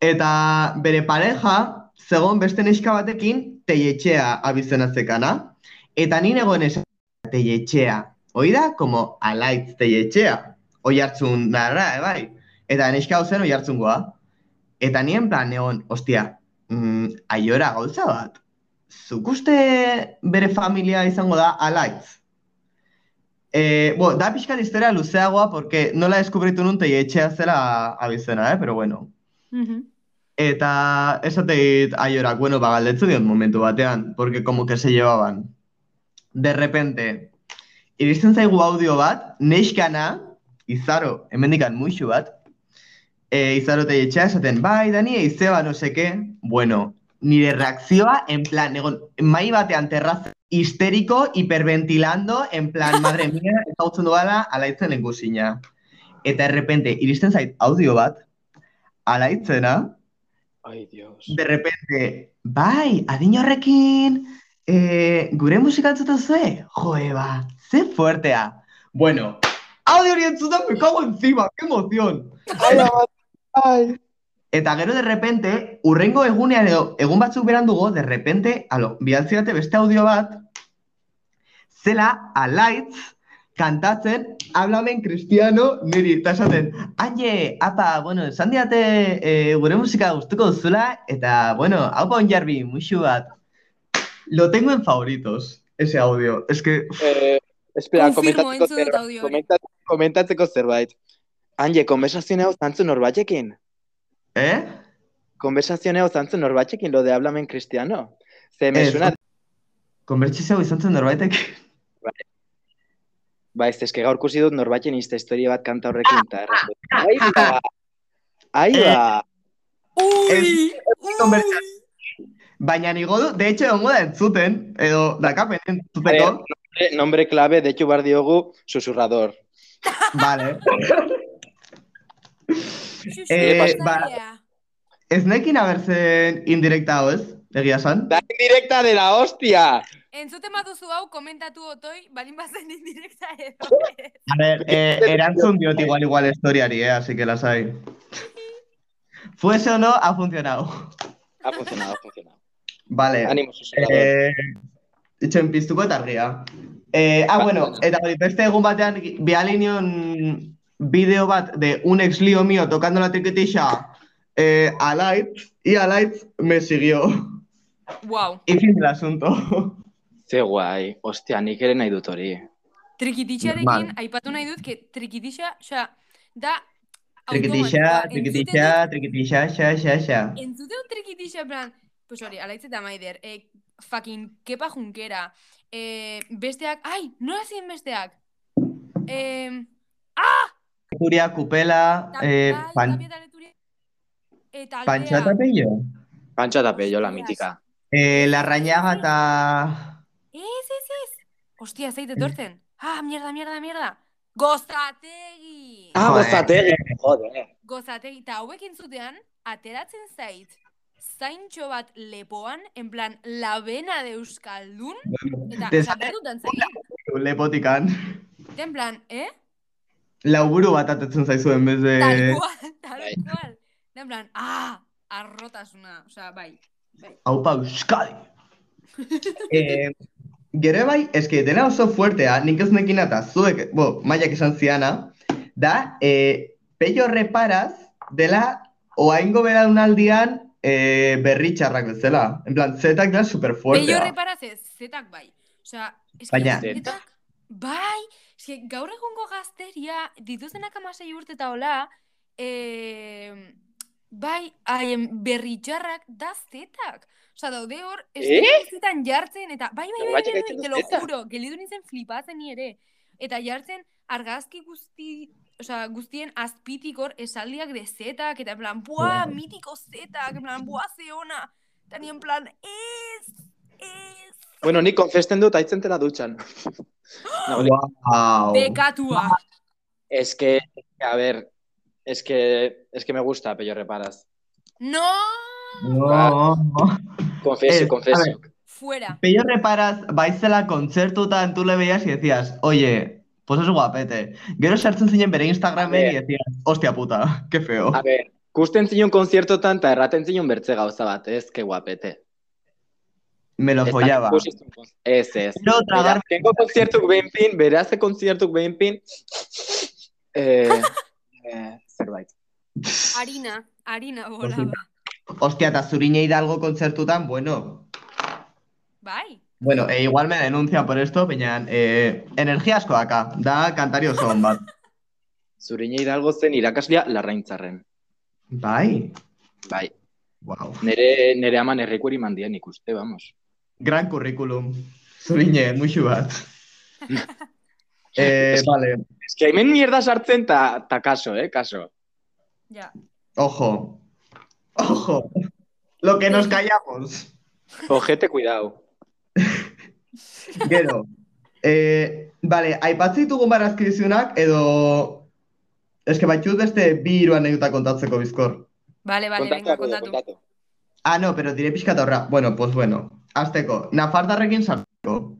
[SPEAKER 1] Eta bere pareja, zegon beste neska batekin, teietxea abizenatzekana. Eta ni negoen esan, teietxea. Hoi da, como alaitz teietxea. Hoi hartzun narra, eh, bai. Eta neska hau zen hoi hartzungoa. Eta nien plan egon, ostia, mm, aiora gauza bat. Zuk uste bere familia izango da alaitz? E, bo, da pixkat historia luzeagoa, porque nola deskubritu nun teietxea zela abizena, eh? Pero bueno. Eta esateit aiorak, bueno, bagaldetzu diot momentu batean, porque como que se llevaban. De repente, iristen zaigu audio bat, neskana, izaro, hemendikan muixu bat, e, izaro teietxea esaten, bai, Dani, eizeba, no seke, bueno, nire reakzioa, en plan, egon, mai batean terraza, histeriko, hiperventilando, en plan, madre mía, ezautzen dudala, alaitzen lengusina. Eta errepente, iristen zait audio bat, alaitzena,
[SPEAKER 2] Ai, Dios.
[SPEAKER 1] de repente, bai, adin horrekin, eh, gure musika entzuten zue? Joe, ba, ze fuertea. Bueno, audio hori entzuta me cago encima, qué emoción.
[SPEAKER 2] Ai, ama- ai.
[SPEAKER 1] Eta gero derrepente, urrengo egunean edo egun batzuk berandugo, derrepente, alo, bialtzirate beste audio bat, zela alaitz kantatzen Háblame en Cristiano niri, eta esaten, aie, apa, bueno, esan diate eh, gure musika gustuko duzula, eta, bueno, hau pon jarbi, musu bat. Lo tengo en favoritos, ese audio. Es que, uf,
[SPEAKER 2] Eh, espera,
[SPEAKER 3] Konfirmo,
[SPEAKER 2] komentatzeko,
[SPEAKER 3] entzun dut
[SPEAKER 2] zerbait-
[SPEAKER 3] audio hori.
[SPEAKER 2] komenta- komentatzeko zerbait. Hanje, konversazio hau zantzun norbaitekin.
[SPEAKER 1] ¿eh?
[SPEAKER 2] Konversazio hau zantzun norbaitekin, lo de hablamen cristiano. Ze me
[SPEAKER 1] Ez.
[SPEAKER 2] suena,
[SPEAKER 1] Konbertsizio izan zen norbaitek.
[SPEAKER 2] ba ez, eske gaur kusi dut norbaiten insta historia bat kanta horrekin. eta erratu. Ai ba, ai
[SPEAKER 1] Eh.
[SPEAKER 2] ba.
[SPEAKER 3] Ui!
[SPEAKER 1] konbertsa- Baina nigo du, de hecho, egongo da entzuten, edo dakapen entzuteko.
[SPEAKER 2] Eh, Nombre clave, de hecho, bar diogu, susurrador.
[SPEAKER 1] Vale.
[SPEAKER 3] Xuxu,
[SPEAKER 1] Eh, ba-
[SPEAKER 3] pasaria.
[SPEAKER 1] Ez nekin abertzen indirekta hau ez, egia san.
[SPEAKER 2] Da indirecta de la hostia!
[SPEAKER 3] Entzuten baduzu hau komentatu otoi, balin [LAUGHS] bazen indirekta edo. ez.
[SPEAKER 1] A ver, eh, erantzun diot igual igual historiari, eh, así que las hay. Fuese o no, ha funcionado.
[SPEAKER 2] Ha funcionado, ha funcionado.
[SPEAKER 1] Vale.
[SPEAKER 2] Ánimo, susurrador.
[SPEAKER 1] Eh, itxoin piztuko eta argia. Eh, ah,
[SPEAKER 2] Ba-
[SPEAKER 1] bueno, eta hori, beste egun batean bialinion bideo bat de un ex lío mío tocando la triquetilla eh, a Light y a Light me siguió.
[SPEAKER 3] Wow.
[SPEAKER 1] Y fin del [LAUGHS] asunto.
[SPEAKER 2] Ze guai, ostia, nik ere nahi dut hori.
[SPEAKER 3] Trikitixarekin,
[SPEAKER 1] Normal.
[SPEAKER 3] aipatu nahi dut, que trikitixa, osea, da...
[SPEAKER 1] Triquetilla,
[SPEAKER 3] automatikoa.
[SPEAKER 1] triquetilla, triquetilla, xa, xa, xa.
[SPEAKER 3] Entzute dut trikitixa, en plan, pues hori, alaitz eta maider, eh, fucking kepa junkera, eh, besteak, ai, nola ziren besteak? Eh,
[SPEAKER 1] Curia, Cupela, eh,
[SPEAKER 3] Tapia-
[SPEAKER 1] pan,
[SPEAKER 3] Tapia eh, eta Leturia- eta aldea.
[SPEAKER 1] Panchata Pello,
[SPEAKER 2] Pantxa eta pello, la mitika.
[SPEAKER 1] eh, Larrañaga eta...
[SPEAKER 3] Ez, ez, ez. Ostia, zait etortzen. Ah, mierda, mierda, mierda. Gozategi!
[SPEAKER 1] Ah, gozategi,
[SPEAKER 2] jode.
[SPEAKER 3] Gozategi, eta hauek entzutean, ateratzen zait, zaintxo bat lepoan, en plan, labena de Euskaldun, eta
[SPEAKER 1] Te sale
[SPEAKER 3] zapertutan zait,
[SPEAKER 1] lepotikan.
[SPEAKER 3] Eta en plan, eh?
[SPEAKER 1] Lauburu bat atetzen zaizuen beste...
[SPEAKER 3] Tal cual, tal
[SPEAKER 2] bai.
[SPEAKER 3] cual. Eta en plan, ah, arrotasuna, osea, bai.
[SPEAKER 1] Aupa
[SPEAKER 2] [LAUGHS]
[SPEAKER 1] Euskadi! eh, gero bai, eske dena oso fuertea, nik ez nekin eta zuek, bo, maiak esan ziana, da, eh, pello reparaz dela oaingo beraunaldian eh, berri txarrak bezala. En plan, zetak da super
[SPEAKER 3] Bello
[SPEAKER 1] fuertea.
[SPEAKER 3] reparaz ez, zetak bai. Osea, eske
[SPEAKER 1] Baina-
[SPEAKER 3] zetak, bai, eske gaur egungo gazteria, dituztenak amasei urte eta hola, eh, bai, haien berritxarrak da zetak. Osea, daude hor,
[SPEAKER 2] Eh?
[SPEAKER 3] estetan jartzen, eta bai, bai, bai, bai,
[SPEAKER 2] Zenbaitek
[SPEAKER 3] bai,
[SPEAKER 2] gaitzen du
[SPEAKER 3] te lo
[SPEAKER 2] zetak.
[SPEAKER 3] juro, gelidu nintzen flipatzen ni ere. Eta jartzen argazki guzti, osea, guztien azpitik hor esaldiak de zetak, eta en plan, buah, mitiko zetak, en plan, buah, ze ona. Eta ni en plan, ez, ez.
[SPEAKER 2] Bueno, nik konfesten dut aitzen dela dutxan. No,
[SPEAKER 1] Wow.
[SPEAKER 3] Bekatua.
[SPEAKER 2] es que, a ver, es que, es que me gusta pello reparaz.
[SPEAKER 3] No,
[SPEAKER 1] No.
[SPEAKER 2] Confieso,
[SPEAKER 1] Eh, a
[SPEAKER 2] confieso.
[SPEAKER 1] ver.
[SPEAKER 3] fuera.
[SPEAKER 1] Pello reparaz, bai baizela kontzertutan tú le veías y decías, oye, pues es guapete. Gero sartzen zinen bere Instagramen y decías, hostia puta, qué feo.
[SPEAKER 2] A ver, gusten zion konziertotan eta erraten zion bertze gauza bat, ez, que guapete.
[SPEAKER 1] Me lo
[SPEAKER 2] Ez,
[SPEAKER 1] follaba.
[SPEAKER 2] ikusi zuen konz- Ez, ez.
[SPEAKER 1] Quiero
[SPEAKER 2] Beraz,
[SPEAKER 1] tragarme.
[SPEAKER 2] Tengo konziertuk behinpin, beraz, ze konziertuk behinpin, eh,
[SPEAKER 1] [LAUGHS]
[SPEAKER 2] eh, zerbait.
[SPEAKER 3] Harina, harina
[SPEAKER 1] Pues
[SPEAKER 3] bolaba.
[SPEAKER 1] Hostia, eta Zuriñe Hidalgo kontzertutan, bueno.
[SPEAKER 3] Bai.
[SPEAKER 1] Bueno, e igual me denuncia por esto, baina eh, energia asko daka, da kantari oso hon bat.
[SPEAKER 2] Zurine Hidalgo zen irakaslea larraintzarren.
[SPEAKER 1] Bai,
[SPEAKER 2] Bai,
[SPEAKER 1] wow.
[SPEAKER 2] nere, nere aman errekueri mandien ikuste, vamos.
[SPEAKER 1] Gran curriculum. Zuriñe, musu bat. eh, vale,
[SPEAKER 2] Ez que hemen mierda sartzen ta, ta kaso, eh, kaso.
[SPEAKER 3] Ja.
[SPEAKER 1] Ojo. Ojo. Lo que nos callamos.
[SPEAKER 2] Ojete, cuidao.
[SPEAKER 1] Gero. Eh, vale, aipatzi ditugu barazki dizunak, edo... Eske batxut beste bi hiru anekdota kontatzeko bizkor.
[SPEAKER 3] Vale, vale, venga, kontatu.
[SPEAKER 1] Ah, no, pero dire pixkat horra. Bueno, pues bueno. Azteko, Nafartarrekin sartuko.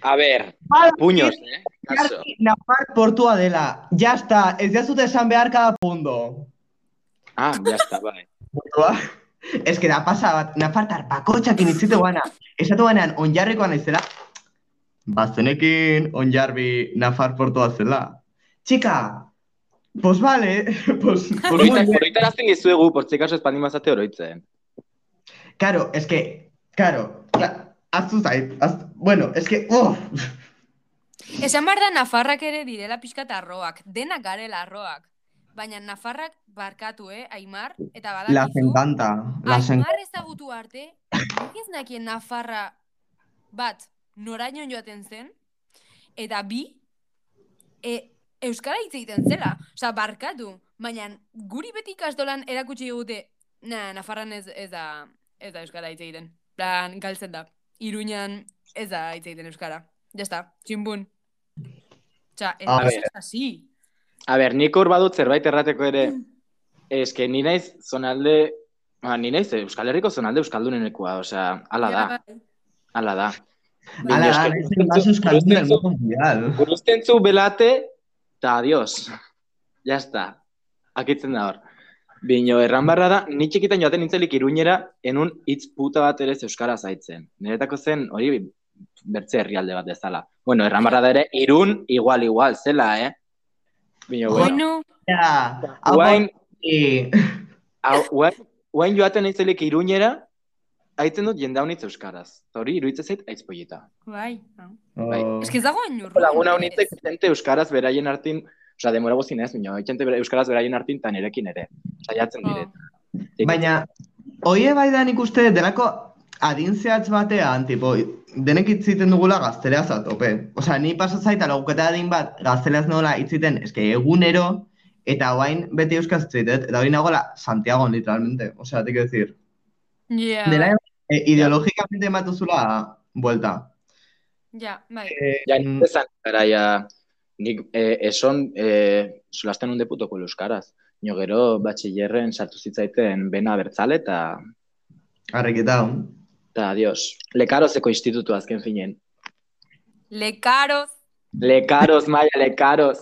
[SPEAKER 2] A ver, puños, eh, kaso.
[SPEAKER 1] Jarki, Nafar portua dela. Ya está, ez jazute esan behar cada pundo.
[SPEAKER 2] Ah, jazta, bai.
[SPEAKER 1] Ba, Ez que da pasa bat, nafartar bakotxak initzite guana. Esatu banan, onjarrikoa naizela. Bazenekin onjarbi nafar portua zela. Txika, pues vale, [LAUGHS] pues... pues muy bien.
[SPEAKER 2] Horritarazten dizuegu, portzikaso espaldin bazate oroitzen.
[SPEAKER 1] Claro, es que, claro, cla- ahaztu zait, ahaztu- bueno, es que, oh,
[SPEAKER 3] Esan behar da Nafarrak ere direla pixkat arroak, denak garela arroak. Baina Nafarrak barkatu, eh, Aimar, eta
[SPEAKER 1] las
[SPEAKER 3] badakizu,
[SPEAKER 1] encanta, las en-
[SPEAKER 3] Aimar ezagutu arte, nik ez nakien Nafarra bat noraino joaten zen, eta bi, e, Euskara hitz egiten zela, osea, barkatu, baina guri beti ikastolan erakutsi digute, na, Nafarran ez, ez da, ez da Euskara hitz egiten, plan, galtzen da, Iruñan ez da hitz egiten Euskara, ya está, tximbun. Osea, ez
[SPEAKER 1] A
[SPEAKER 3] da,
[SPEAKER 2] ber.
[SPEAKER 3] ez da, sí.
[SPEAKER 2] A ber, nik hor badut zerbait errateko ere, eske ni naiz zonalde, ba, ni naiz Euskal Herriko zonalde Euskaldunenekoa, osea, hala da, hala da.
[SPEAKER 1] Ala da,
[SPEAKER 2] Baina, eske,
[SPEAKER 1] naiz el más euskaldun del
[SPEAKER 2] guruztentzu-
[SPEAKER 1] mundo mundial.
[SPEAKER 2] guruztentzu belate, eta adios. Ya está. Akitzen da hor. Bino, erran barra da, ni txikitan joaten nintzelik iruñera, enun hitz puta bat ere ez euskara zaitzen. Niretako zen, hori bertze herrialde bat dezala. Bueno, erran barra da ere, irun igual, igual, zela, eh? Bino, bueno.
[SPEAKER 3] Bueno,
[SPEAKER 1] Ja, hau
[SPEAKER 2] Guain,
[SPEAKER 1] hori,
[SPEAKER 2] Hau, guain, guain joaten naizelik iruñera, haitzen dut jende honitz euskaraz. Eta hori iruditzen zait aizpoieta.
[SPEAKER 3] bai. hau.
[SPEAKER 2] Bai.
[SPEAKER 1] oh,
[SPEAKER 3] Ez que ez dago inur.
[SPEAKER 2] Laguna honitzek jente euskaraz beraien artin, osea, demora guztien ez, baina jente bera- euskaraz beraien artin eta nirekin ere. Saiatzen
[SPEAKER 3] Oh.
[SPEAKER 2] dire.
[SPEAKER 1] Baina, oie bai da nik uste delako adin zehatz batean, tipo, denek itziten dugula gazteleaz a tope. Osea, ni pasatzaita lauketa adin bat gazteleaz nola itziten, eske egunero, eta guain beti euskaz itzitet, eta hori nagola Santiago, literalmente. Osea, te quiero decir,
[SPEAKER 3] Ja,
[SPEAKER 1] dela e, ideologikamente ematuzula vuelta.
[SPEAKER 3] ja, bai.
[SPEAKER 2] Ja,
[SPEAKER 1] Mm.
[SPEAKER 2] nik ezan, garaia, nik eh, eson, eh, solasten un deputoko euskaraz. Nio gero, batxillerren sartu zitzaiten bena bertzale eta,
[SPEAKER 1] Arreketa.
[SPEAKER 2] eta adios. Lekarozeko institutu azken finen.
[SPEAKER 3] Lekaroz,
[SPEAKER 2] Lekaroz, maia, lekaroz.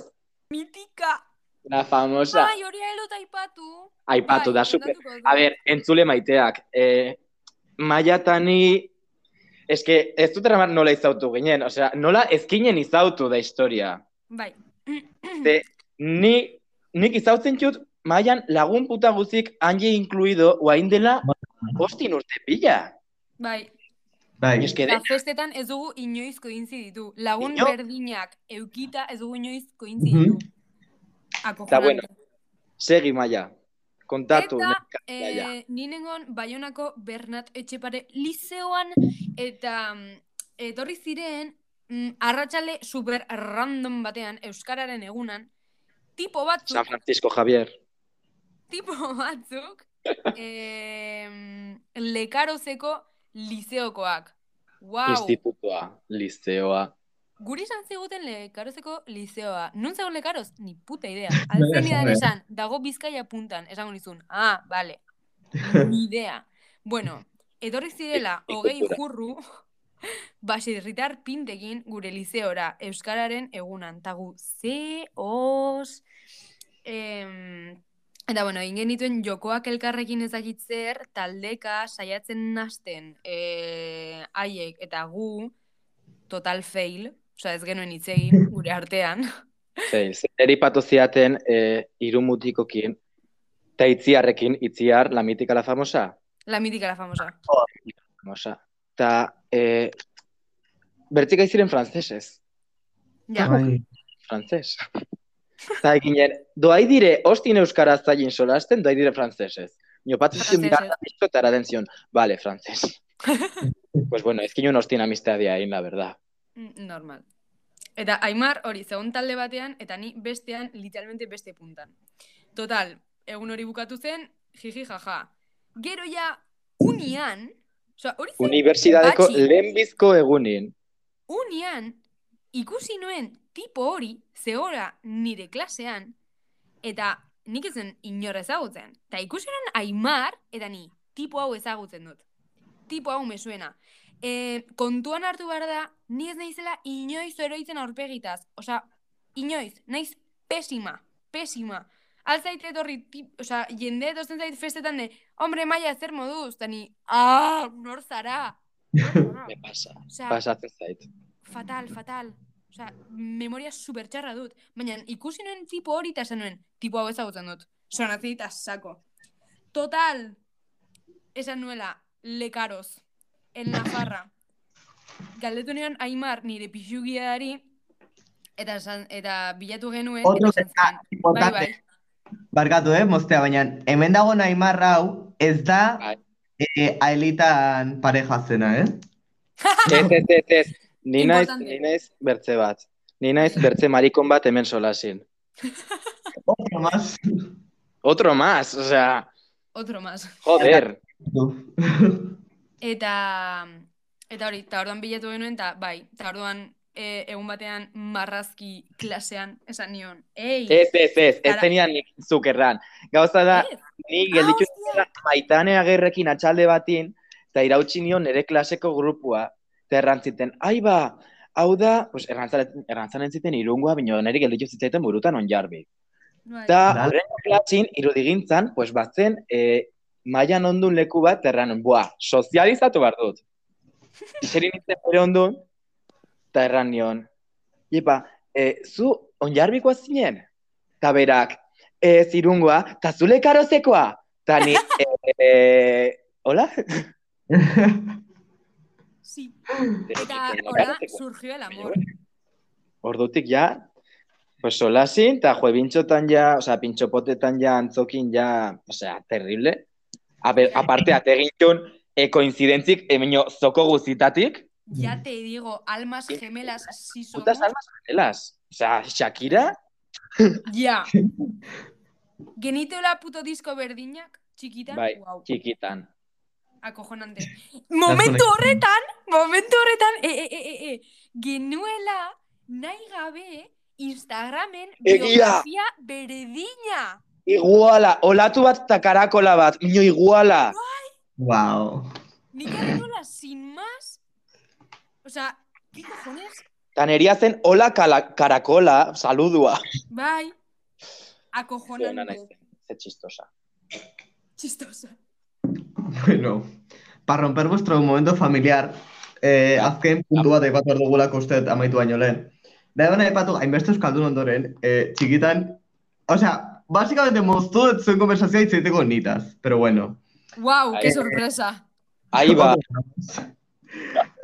[SPEAKER 3] mitika.
[SPEAKER 2] La famosa.
[SPEAKER 3] Ai, hori heldu taipatu.
[SPEAKER 2] Aipatu da, super. A ber, entzule maiteak, e, maiatani, eske ez dut eraman nola izautu ginen, osea, nola ezkinen izautu da historia.
[SPEAKER 3] Bai. [CLEARS THROAT]
[SPEAKER 2] Ze, ni, nik izautzen txut, maian lagun puta guzik handi inkluido, oain dela, ostin urte pila.
[SPEAKER 3] Bai,
[SPEAKER 1] Bai.
[SPEAKER 2] Eske,
[SPEAKER 3] eta
[SPEAKER 2] de,
[SPEAKER 3] festetan ez dugu inoiz kointzi ditu. Lagun
[SPEAKER 2] Ino-
[SPEAKER 3] berdinak eukita ez dugu inoiz kointzi
[SPEAKER 1] Mhm.
[SPEAKER 3] ditu. Akojonante.
[SPEAKER 2] bueno, segi maia, kontatu.
[SPEAKER 3] Eta,
[SPEAKER 2] neka, maia.
[SPEAKER 3] Eh, ni nengon Baionako Bernat Etxepare lizeoan eta mm, etorri ziren mm, arratsale super random batean euskararen egunan tipo batzuk
[SPEAKER 2] San Francisco Javier.
[SPEAKER 3] tipo [LAUGHS] batzuk em, lekarozeko lizeokoak. Wow,
[SPEAKER 2] Institutua, liceoa.
[SPEAKER 3] guri izan ziguten lekarozeko lizeoa. Nun zegoen lekaroz? Ni puta idea.
[SPEAKER 1] esan,
[SPEAKER 3] Altzenidan
[SPEAKER 1] eh.
[SPEAKER 3] esan, dago bizkaia puntan, esango nizun. Ah, vale. Ni idea. Bueno, etorri zirela,
[SPEAKER 2] Ik-
[SPEAKER 3] hogei
[SPEAKER 2] ikkultura.
[SPEAKER 3] jurru, [LAUGHS] baserritar pintekin gure lizeora, Euskararen egunan. Tagu, ze, os... Em, eta bueno, ingen dituen jokoak elkarrekin ezakitzer, taldeka, saiatzen nasten, eh, haiek eta gu, total fail, osea ez genuen hitz egin gure artean. [LAUGHS]
[SPEAKER 2] Zein, eri patu ziaten e, irumutikokin, eta itziarrekin, itziar, la mitika la famosa,
[SPEAKER 3] La mítica, la famosa.
[SPEAKER 2] famosa. Eta, e, bertzik aiziren frantsesez,
[SPEAKER 3] Ja,
[SPEAKER 1] Bai.
[SPEAKER 3] [LAUGHS]
[SPEAKER 2] frantses. Eta ginen, doai dire, ostin euskaraz zailin solasten, doai dire frantsesez. Nio, patu zion
[SPEAKER 3] Frantsesez.
[SPEAKER 2] miranda bizko eta araden zion, vale, frantses.
[SPEAKER 3] [LAUGHS]
[SPEAKER 2] pues bueno, ez ginen ostin amistadia egin, la verdad.
[SPEAKER 3] mm, normal. Eta Aimar hori zegoen talde batean, eta ni bestean, literalmente beste puntan. Total, egun hori bukatu zen, jiji jaja. Gero ja, unian, osea, hori zen,
[SPEAKER 2] Unibertsitateko
[SPEAKER 3] batxi.
[SPEAKER 2] lehenbizko egunin.
[SPEAKER 3] unian, ikusi nuen tipo hori, zehora nire klasean, eta nik ezen inor ezagutzen. Eta ikusi nuen Aimar, eta ni, tipo hau ezagutzen dut. Tipo hau mesuena. E, kontuan hartu behar da, ni ez naizela inoiz oroitzen aurpegitaz. Osea, inoiz, naiz pesima, pesima. alzait etorri, tip, oza, jende etortzen zait festetan de, hombre, maia, zer moduz, da ni, ah, nor zara. Nor zara?"
[SPEAKER 2] Me pasa,
[SPEAKER 3] Osea,
[SPEAKER 2] pasatzen zait.
[SPEAKER 3] fatal, fatal. Osa, memoria super txarra dut. Baina ikusi nuen tipo hori eta esan nuen, tipo hau ezagutzen dut. Sonazi eta sako. Total, esan nuela, lekaroz, en Nafarra. Galdetu nion Aimar nire pixugiari, eta, esan, eta bilatu genuen,
[SPEAKER 1] Otro
[SPEAKER 3] eta esan
[SPEAKER 1] deta-
[SPEAKER 3] zuen, bai,
[SPEAKER 1] importante.
[SPEAKER 3] bai,
[SPEAKER 1] Barkatu, eh, moztea, baina hemen dago Neymar hau ez da
[SPEAKER 2] Bai.
[SPEAKER 1] eh, aelitan pareja zena, eh?
[SPEAKER 2] Ez, ez, ez, ez. Ni naiz,
[SPEAKER 3] Importante.
[SPEAKER 2] ni naiz bertze bat. Ni naiz bertze marikon bat hemen solasin.
[SPEAKER 1] Otro más.
[SPEAKER 2] Otro más, o sea,
[SPEAKER 3] otro más.
[SPEAKER 2] joder.
[SPEAKER 1] [LAUGHS]
[SPEAKER 3] Eta, eta hori, eta orduan bilatu genuen, eta bai, eta orduan e, egun batean marrazki klasean esan nion. Ei,
[SPEAKER 2] Ez, ez, ez, ez
[SPEAKER 3] Ara-
[SPEAKER 2] zenian nik zuk erran. Gauza da,
[SPEAKER 3] ez,
[SPEAKER 2] ni
[SPEAKER 3] Ah,
[SPEAKER 2] gelditu
[SPEAKER 3] hostia.
[SPEAKER 2] nintzen maitane agerrekin atxalde batin, eta irautsi nion nire klaseko grupua. Eta errantziten, ai ba, hau da, pues, errantzan, errantzan entziten irungoa, bino nire gelditu zitzaiten burutan onjarbi.
[SPEAKER 3] bai.
[SPEAKER 2] Eta
[SPEAKER 1] Bai.
[SPEAKER 2] horrengo klasin, irudigintzan, pues batzen, e, maian ondun leku bat erranun, Buah, sozializatu behar dut. Iseri nintzen bere ondun, eta erran nion. Iepa, e, zu onjarbikoa zinen? Eta berak, e, zirungoa, eta zule karozekoa? Eta ni, e, e, hola? [LAUGHS]
[SPEAKER 3] Sí. Eta horrela surgió el amor.
[SPEAKER 2] Ordutik ja, pues solasin, eta jue bintxotan ja, osea, pintxopotetan ja, antzokin ja, osea, terrible. A be- aparte, ategin joan, e, koinzidentzik, emino, zoko guzitatik,
[SPEAKER 3] Ya te digo, almas gemelas si somos.
[SPEAKER 2] putas almas gemelas. Osea, Shakira,
[SPEAKER 3] Ja. Geniteola puto disko berdinak, txikita,
[SPEAKER 2] Bai.
[SPEAKER 3] wow,
[SPEAKER 2] txikitan.
[SPEAKER 3] acojonante. Momentu horretan, momentu horretan, e, e, e, e, e, genuela nahi gabe Instagramen
[SPEAKER 2] Egia!
[SPEAKER 3] biografia berdina.
[SPEAKER 2] Iguala, olatu bat eta karakola bat, mino iguala.
[SPEAKER 1] wow.
[SPEAKER 3] Nik errenuela sin más. O sea, ¿qué cojones?
[SPEAKER 2] Taneria zen hola kala- karakola, saludua.
[SPEAKER 3] Bai.
[SPEAKER 2] Ona naiz,
[SPEAKER 3] Acojonante.
[SPEAKER 2] ze txistosa.
[SPEAKER 3] Chistosa.
[SPEAKER 1] Bueno, para romper vuestro momento familiar, eh, azken puntu bat aipatu behar dugulako uste dut amaitu baino lehen. Da egon aipatu, hainbeste euskaldun ondoren, eh, txikitan, o sea, básicamente moztu dut zuen konversazioa hitz egiteko nitaz, pero bueno.
[SPEAKER 3] Wow,
[SPEAKER 2] Ahí.
[SPEAKER 3] qué sorpresa.
[SPEAKER 2] Ahí ba,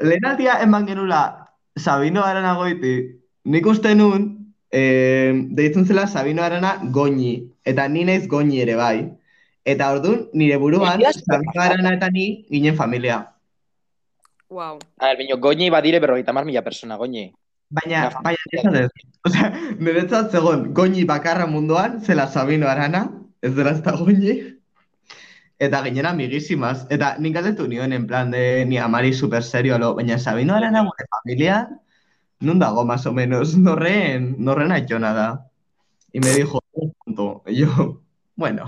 [SPEAKER 1] Lehen aldia eman genula Sabino Arana goiti, nik uste nun, eh, deitzen zela Sabino Arana goñi, eta ni naiz goñi ere bai. Eta orduan, nire buruan,
[SPEAKER 2] Egia
[SPEAKER 1] Sabino Arana eta ni ginen familia.
[SPEAKER 3] Wow.
[SPEAKER 2] a ber, bino, goñi badire berrogeita mar mila persona, goñi.
[SPEAKER 1] Baina,
[SPEAKER 2] Ja.
[SPEAKER 1] baina, esan ez. Osea, niretzat zegoen, goñi bakarra munduan, zela Sabino Arana, ez dela ez da goñi. Eta ginena migisimaz. Eta nik galdetu nion, en plan, de, ni amari super serio, lo, baina Sabino Arana gure familia, nun dago, más o menos, norren, norren aitona da. Y me dijo, un punto. Y yo, bueno,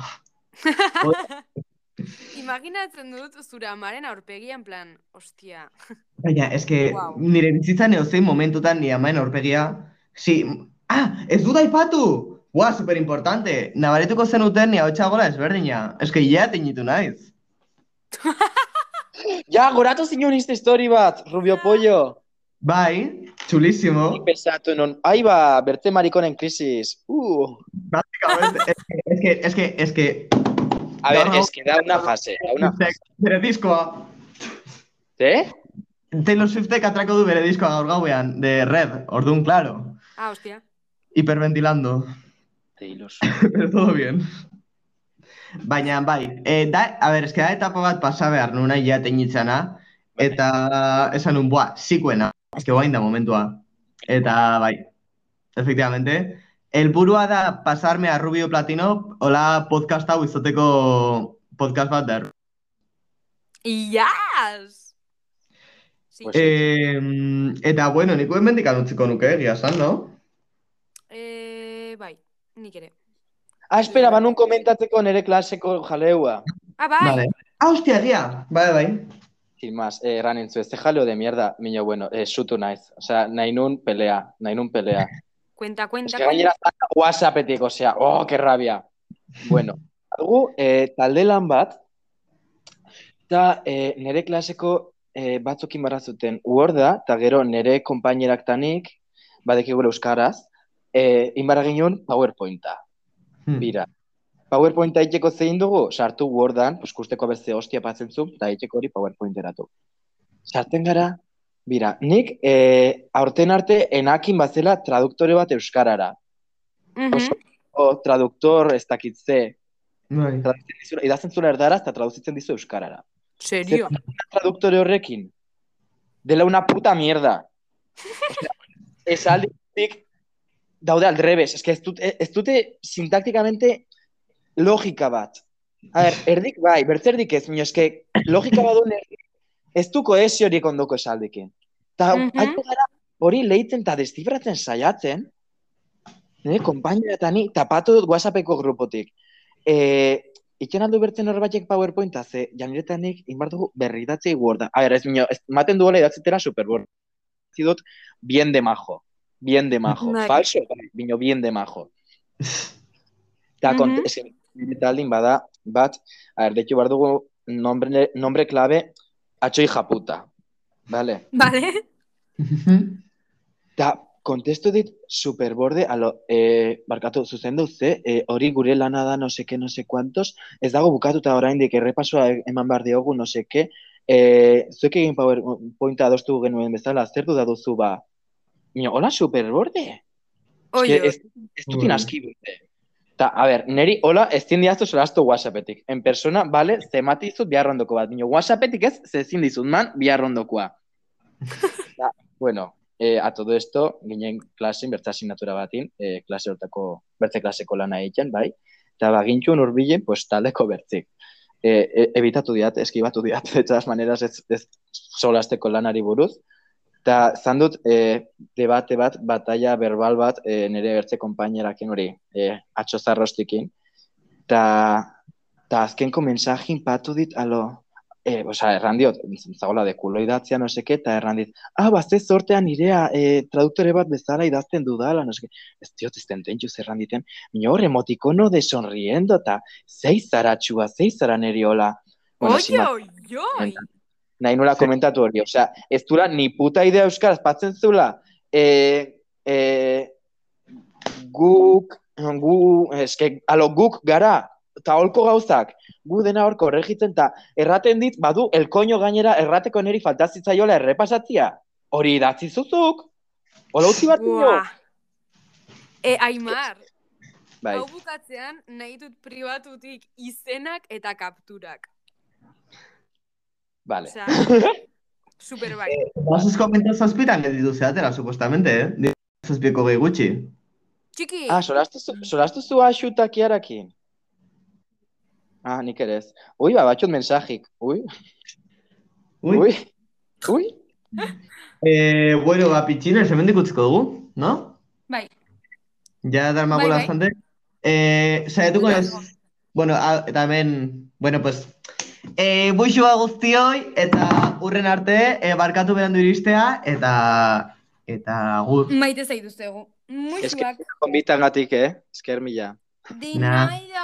[SPEAKER 3] Imaginatzen dut zure amaren aurpegian plan, hostia.
[SPEAKER 1] baina, es que
[SPEAKER 3] Guau.
[SPEAKER 1] nire bizitzan eozein momentutan nire amaen aurpegia, si, ah, ez dut aipatu! Ua, superimportante, nabaretuko zenuten nire hautsa gola ezberdina, eske hilea tinitu naiz.
[SPEAKER 2] Ja, goratu zinun izte histori bat, Rubio Pollo.
[SPEAKER 1] Bai, txulísimo. [LAUGHS]
[SPEAKER 2] Nik pesatu non, ai ba, bertze marikonen krisis. Uh.
[SPEAKER 1] Básicamente, es que, es que, es que,
[SPEAKER 2] A ber,
[SPEAKER 1] Gaur-
[SPEAKER 2] eski da una fase, da una fase. ¿Eh?
[SPEAKER 1] bere diskoa,
[SPEAKER 2] Ze?
[SPEAKER 1] Taylor Swiftek atrako du bere diskoa gaur gauean, de Red, orduan, claro,
[SPEAKER 3] Ah, hostia.
[SPEAKER 1] hiperventilando, [LAUGHS]
[SPEAKER 2] Taylor
[SPEAKER 1] pero todo bien. Baina, bai, e, da, a ver, eske da etapa bat pasa behar nuna ja teinitzana, eta esan un, buah, zikuena, eske guain da momentua. Eta, bai, efectivamente, helburua da pasarme a Rubio Platino, hola podcast hau izoteko podcast bat da
[SPEAKER 3] Iaz! Sí.
[SPEAKER 2] Pues-
[SPEAKER 1] Eh, eta, bueno, niko hemendik utziko nuke, egia esan, no?
[SPEAKER 3] Eh, bai, nik ere.
[SPEAKER 2] Ah, espera, banun komentatzeko nere klaseko jaleua.
[SPEAKER 3] Ah, bai!
[SPEAKER 1] Vale. Ah, hostia, egia! Bai, bai.
[SPEAKER 2] Sin más, eh, erran entzu, ez jaleo de mierda, mino, bueno, eh, sutu naiz. Osea, nahi nun pelea, nahi nun pelea.
[SPEAKER 3] Cuenta,
[SPEAKER 2] Es
[SPEAKER 3] cuenta,
[SPEAKER 2] que gainera
[SPEAKER 3] cuenta.
[SPEAKER 2] zaka whatsappetik, osea, oh, que rabia. Bueno, algu eh, talde lan bat, eta eh, nire klaseko eh, batzukin barra zuten Word da, eta gero nire konpainerak tanik, badeki gure euskaraz, eh, inbara ginen PowerPointa,
[SPEAKER 1] Hm,
[SPEAKER 2] bira. PowerPointa iteko zein dugu, sartu Wordan, pues, kusteko beste hostia patzen zu, eta iteko hori PowerPointeratu. Sartzen gara, bira, nik eh, aurten arte enakin bazela traduktore bat euskarara.
[SPEAKER 3] Mhm.
[SPEAKER 2] Oso- O, traduktor ez dakitze,
[SPEAKER 1] Bai.
[SPEAKER 2] traduzitzen dizula, idazten zula erdaraz eta traduzitzen dizu euskarara.
[SPEAKER 3] Serio?
[SPEAKER 2] traduktore horrekin, dela una puta mierda. Osea, Esaldi guztiak daude aldrebes, eske ez, dut, ez dute sintaktikamente logika bat. A ber, erdik bai, bertzerdik ez, baina eske logika bat duen erdik, ez du kohesio horiek ondoko esaldekin. Ta
[SPEAKER 3] Mhm.
[SPEAKER 2] haitu gara hori leitzen eta destifratzen saiatzen, nire kompainera eta ni tapatu dut WhatsAppeko grupotik. Eh, Itxen aldu bertzen norbaitek PowerPointa, ze janiretanik inbartugu berridatzei Worda. A ber, ez minio, ez, maten duela idatzitera Superboard. Zidot, bien de majo. Bien de majo.
[SPEAKER 3] Bai.
[SPEAKER 2] Falso, bai, bino, bien de majo. Eta, kont,
[SPEAKER 3] Mhm.
[SPEAKER 2] ez, nire taldin bada, bat, a ber, deitu behar dugu nombre, nombre clave atxoi japuta. Vale?
[SPEAKER 3] Vale.
[SPEAKER 2] Eta, kontestu dit Superborde, alo, eh, barkatu, zuzendu, ze, eh, hori gure lana da, no seke, no se kuantos, ez dago bukatuta oraindik errepasoa eman behar diogu, no seke, eh, zuek egin PowerPointa adostu genuen bezala, zer du da duzu ba, Nio, hola Superborde?
[SPEAKER 3] Oio.
[SPEAKER 2] Ez, ez dutin
[SPEAKER 1] Ui.
[SPEAKER 2] aski bete. Ta, a ber, neri, hola, ez zindiaztu solastu WhatsAppetik. En persona, bale, zemati izut biharrondoko bat. Bino, WhatsAppetik ez, ze ezin dizut man, biharrondokoa. Ta, bueno, eh, a todo esto, ginen klasen, bertza asignatura batin, eh, klase hortako, bertze klaseko lana egiten, bai? Eta bagintxun urbilen, pues, taldeko bertzik. Eh, e, ebitatu diat, eskibatu diat, [LAUGHS] de todas maneras, ez, ez solasteko lanari buruz. Eta zan dut, eh, debate bat, batalla verbal bat e, nire bertze konpainerakin hori, e, atxo zarrostikin. Ta, ta azkenko mensajin patu dit, alo, e, osea, erran diot, zagola de kulo idatzia, no seke, eta erran dit, ah, bazte sortean nirea e, traduktore bat bezala idazten dudala, no seke, ez diot, ez tententxu zerran diten, mino hor emotikono de sonriendo, eta zei zara txua, zei zara neri hola. Bueno, sin
[SPEAKER 3] Oio, oio.
[SPEAKER 2] nahi nola komentatu hori, osea, ez dula ni puta idea euskaraz patzen zula, e, e, guk, gu, eske, alo, guk gara, eta holko gauzak, gu dena hor korregitzen, eta erraten dit, badu, elkoño gainera errateko neri faltazitzaiola errepasatzia, hori idatzi zuzuk, hola utzi bat dio.
[SPEAKER 3] Ua. E, Aimar,
[SPEAKER 2] Bai,
[SPEAKER 3] hau bukatzean nahi dut pribatutik izenak eta kapturak.
[SPEAKER 2] bale. [LAUGHS]
[SPEAKER 3] Osea, super bai.
[SPEAKER 1] Basus komentar zazpitan gelditu zeatera, supostamente, eh? Ni Zazpiko gehi gutxi.
[SPEAKER 3] Txiki,
[SPEAKER 2] Ah, solastu, zu- solastu zu axuta kiarakin. Ah, nik ere ez. Ui, ba, batxot mensajik. Ui,
[SPEAKER 1] Ui.
[SPEAKER 2] ui, ui.
[SPEAKER 1] Eh, bueno, ba, pitxines, hemendik utziko dugu, no?
[SPEAKER 3] Bai.
[SPEAKER 1] Ja darmagu
[SPEAKER 3] Bai, bai.
[SPEAKER 1] bastante. Eh, saiatuko ez.
[SPEAKER 3] Largo.
[SPEAKER 1] Bueno, a, eta hemen, bueno, pues eh, buixua guztioi eta urren arte eh, barkatu berandu iristea eta eta gu
[SPEAKER 3] maite zaituztegu. Muisuak,
[SPEAKER 2] Konbitan gatik, eh? Esker mila.
[SPEAKER 3] dinaida.
[SPEAKER 1] Nah.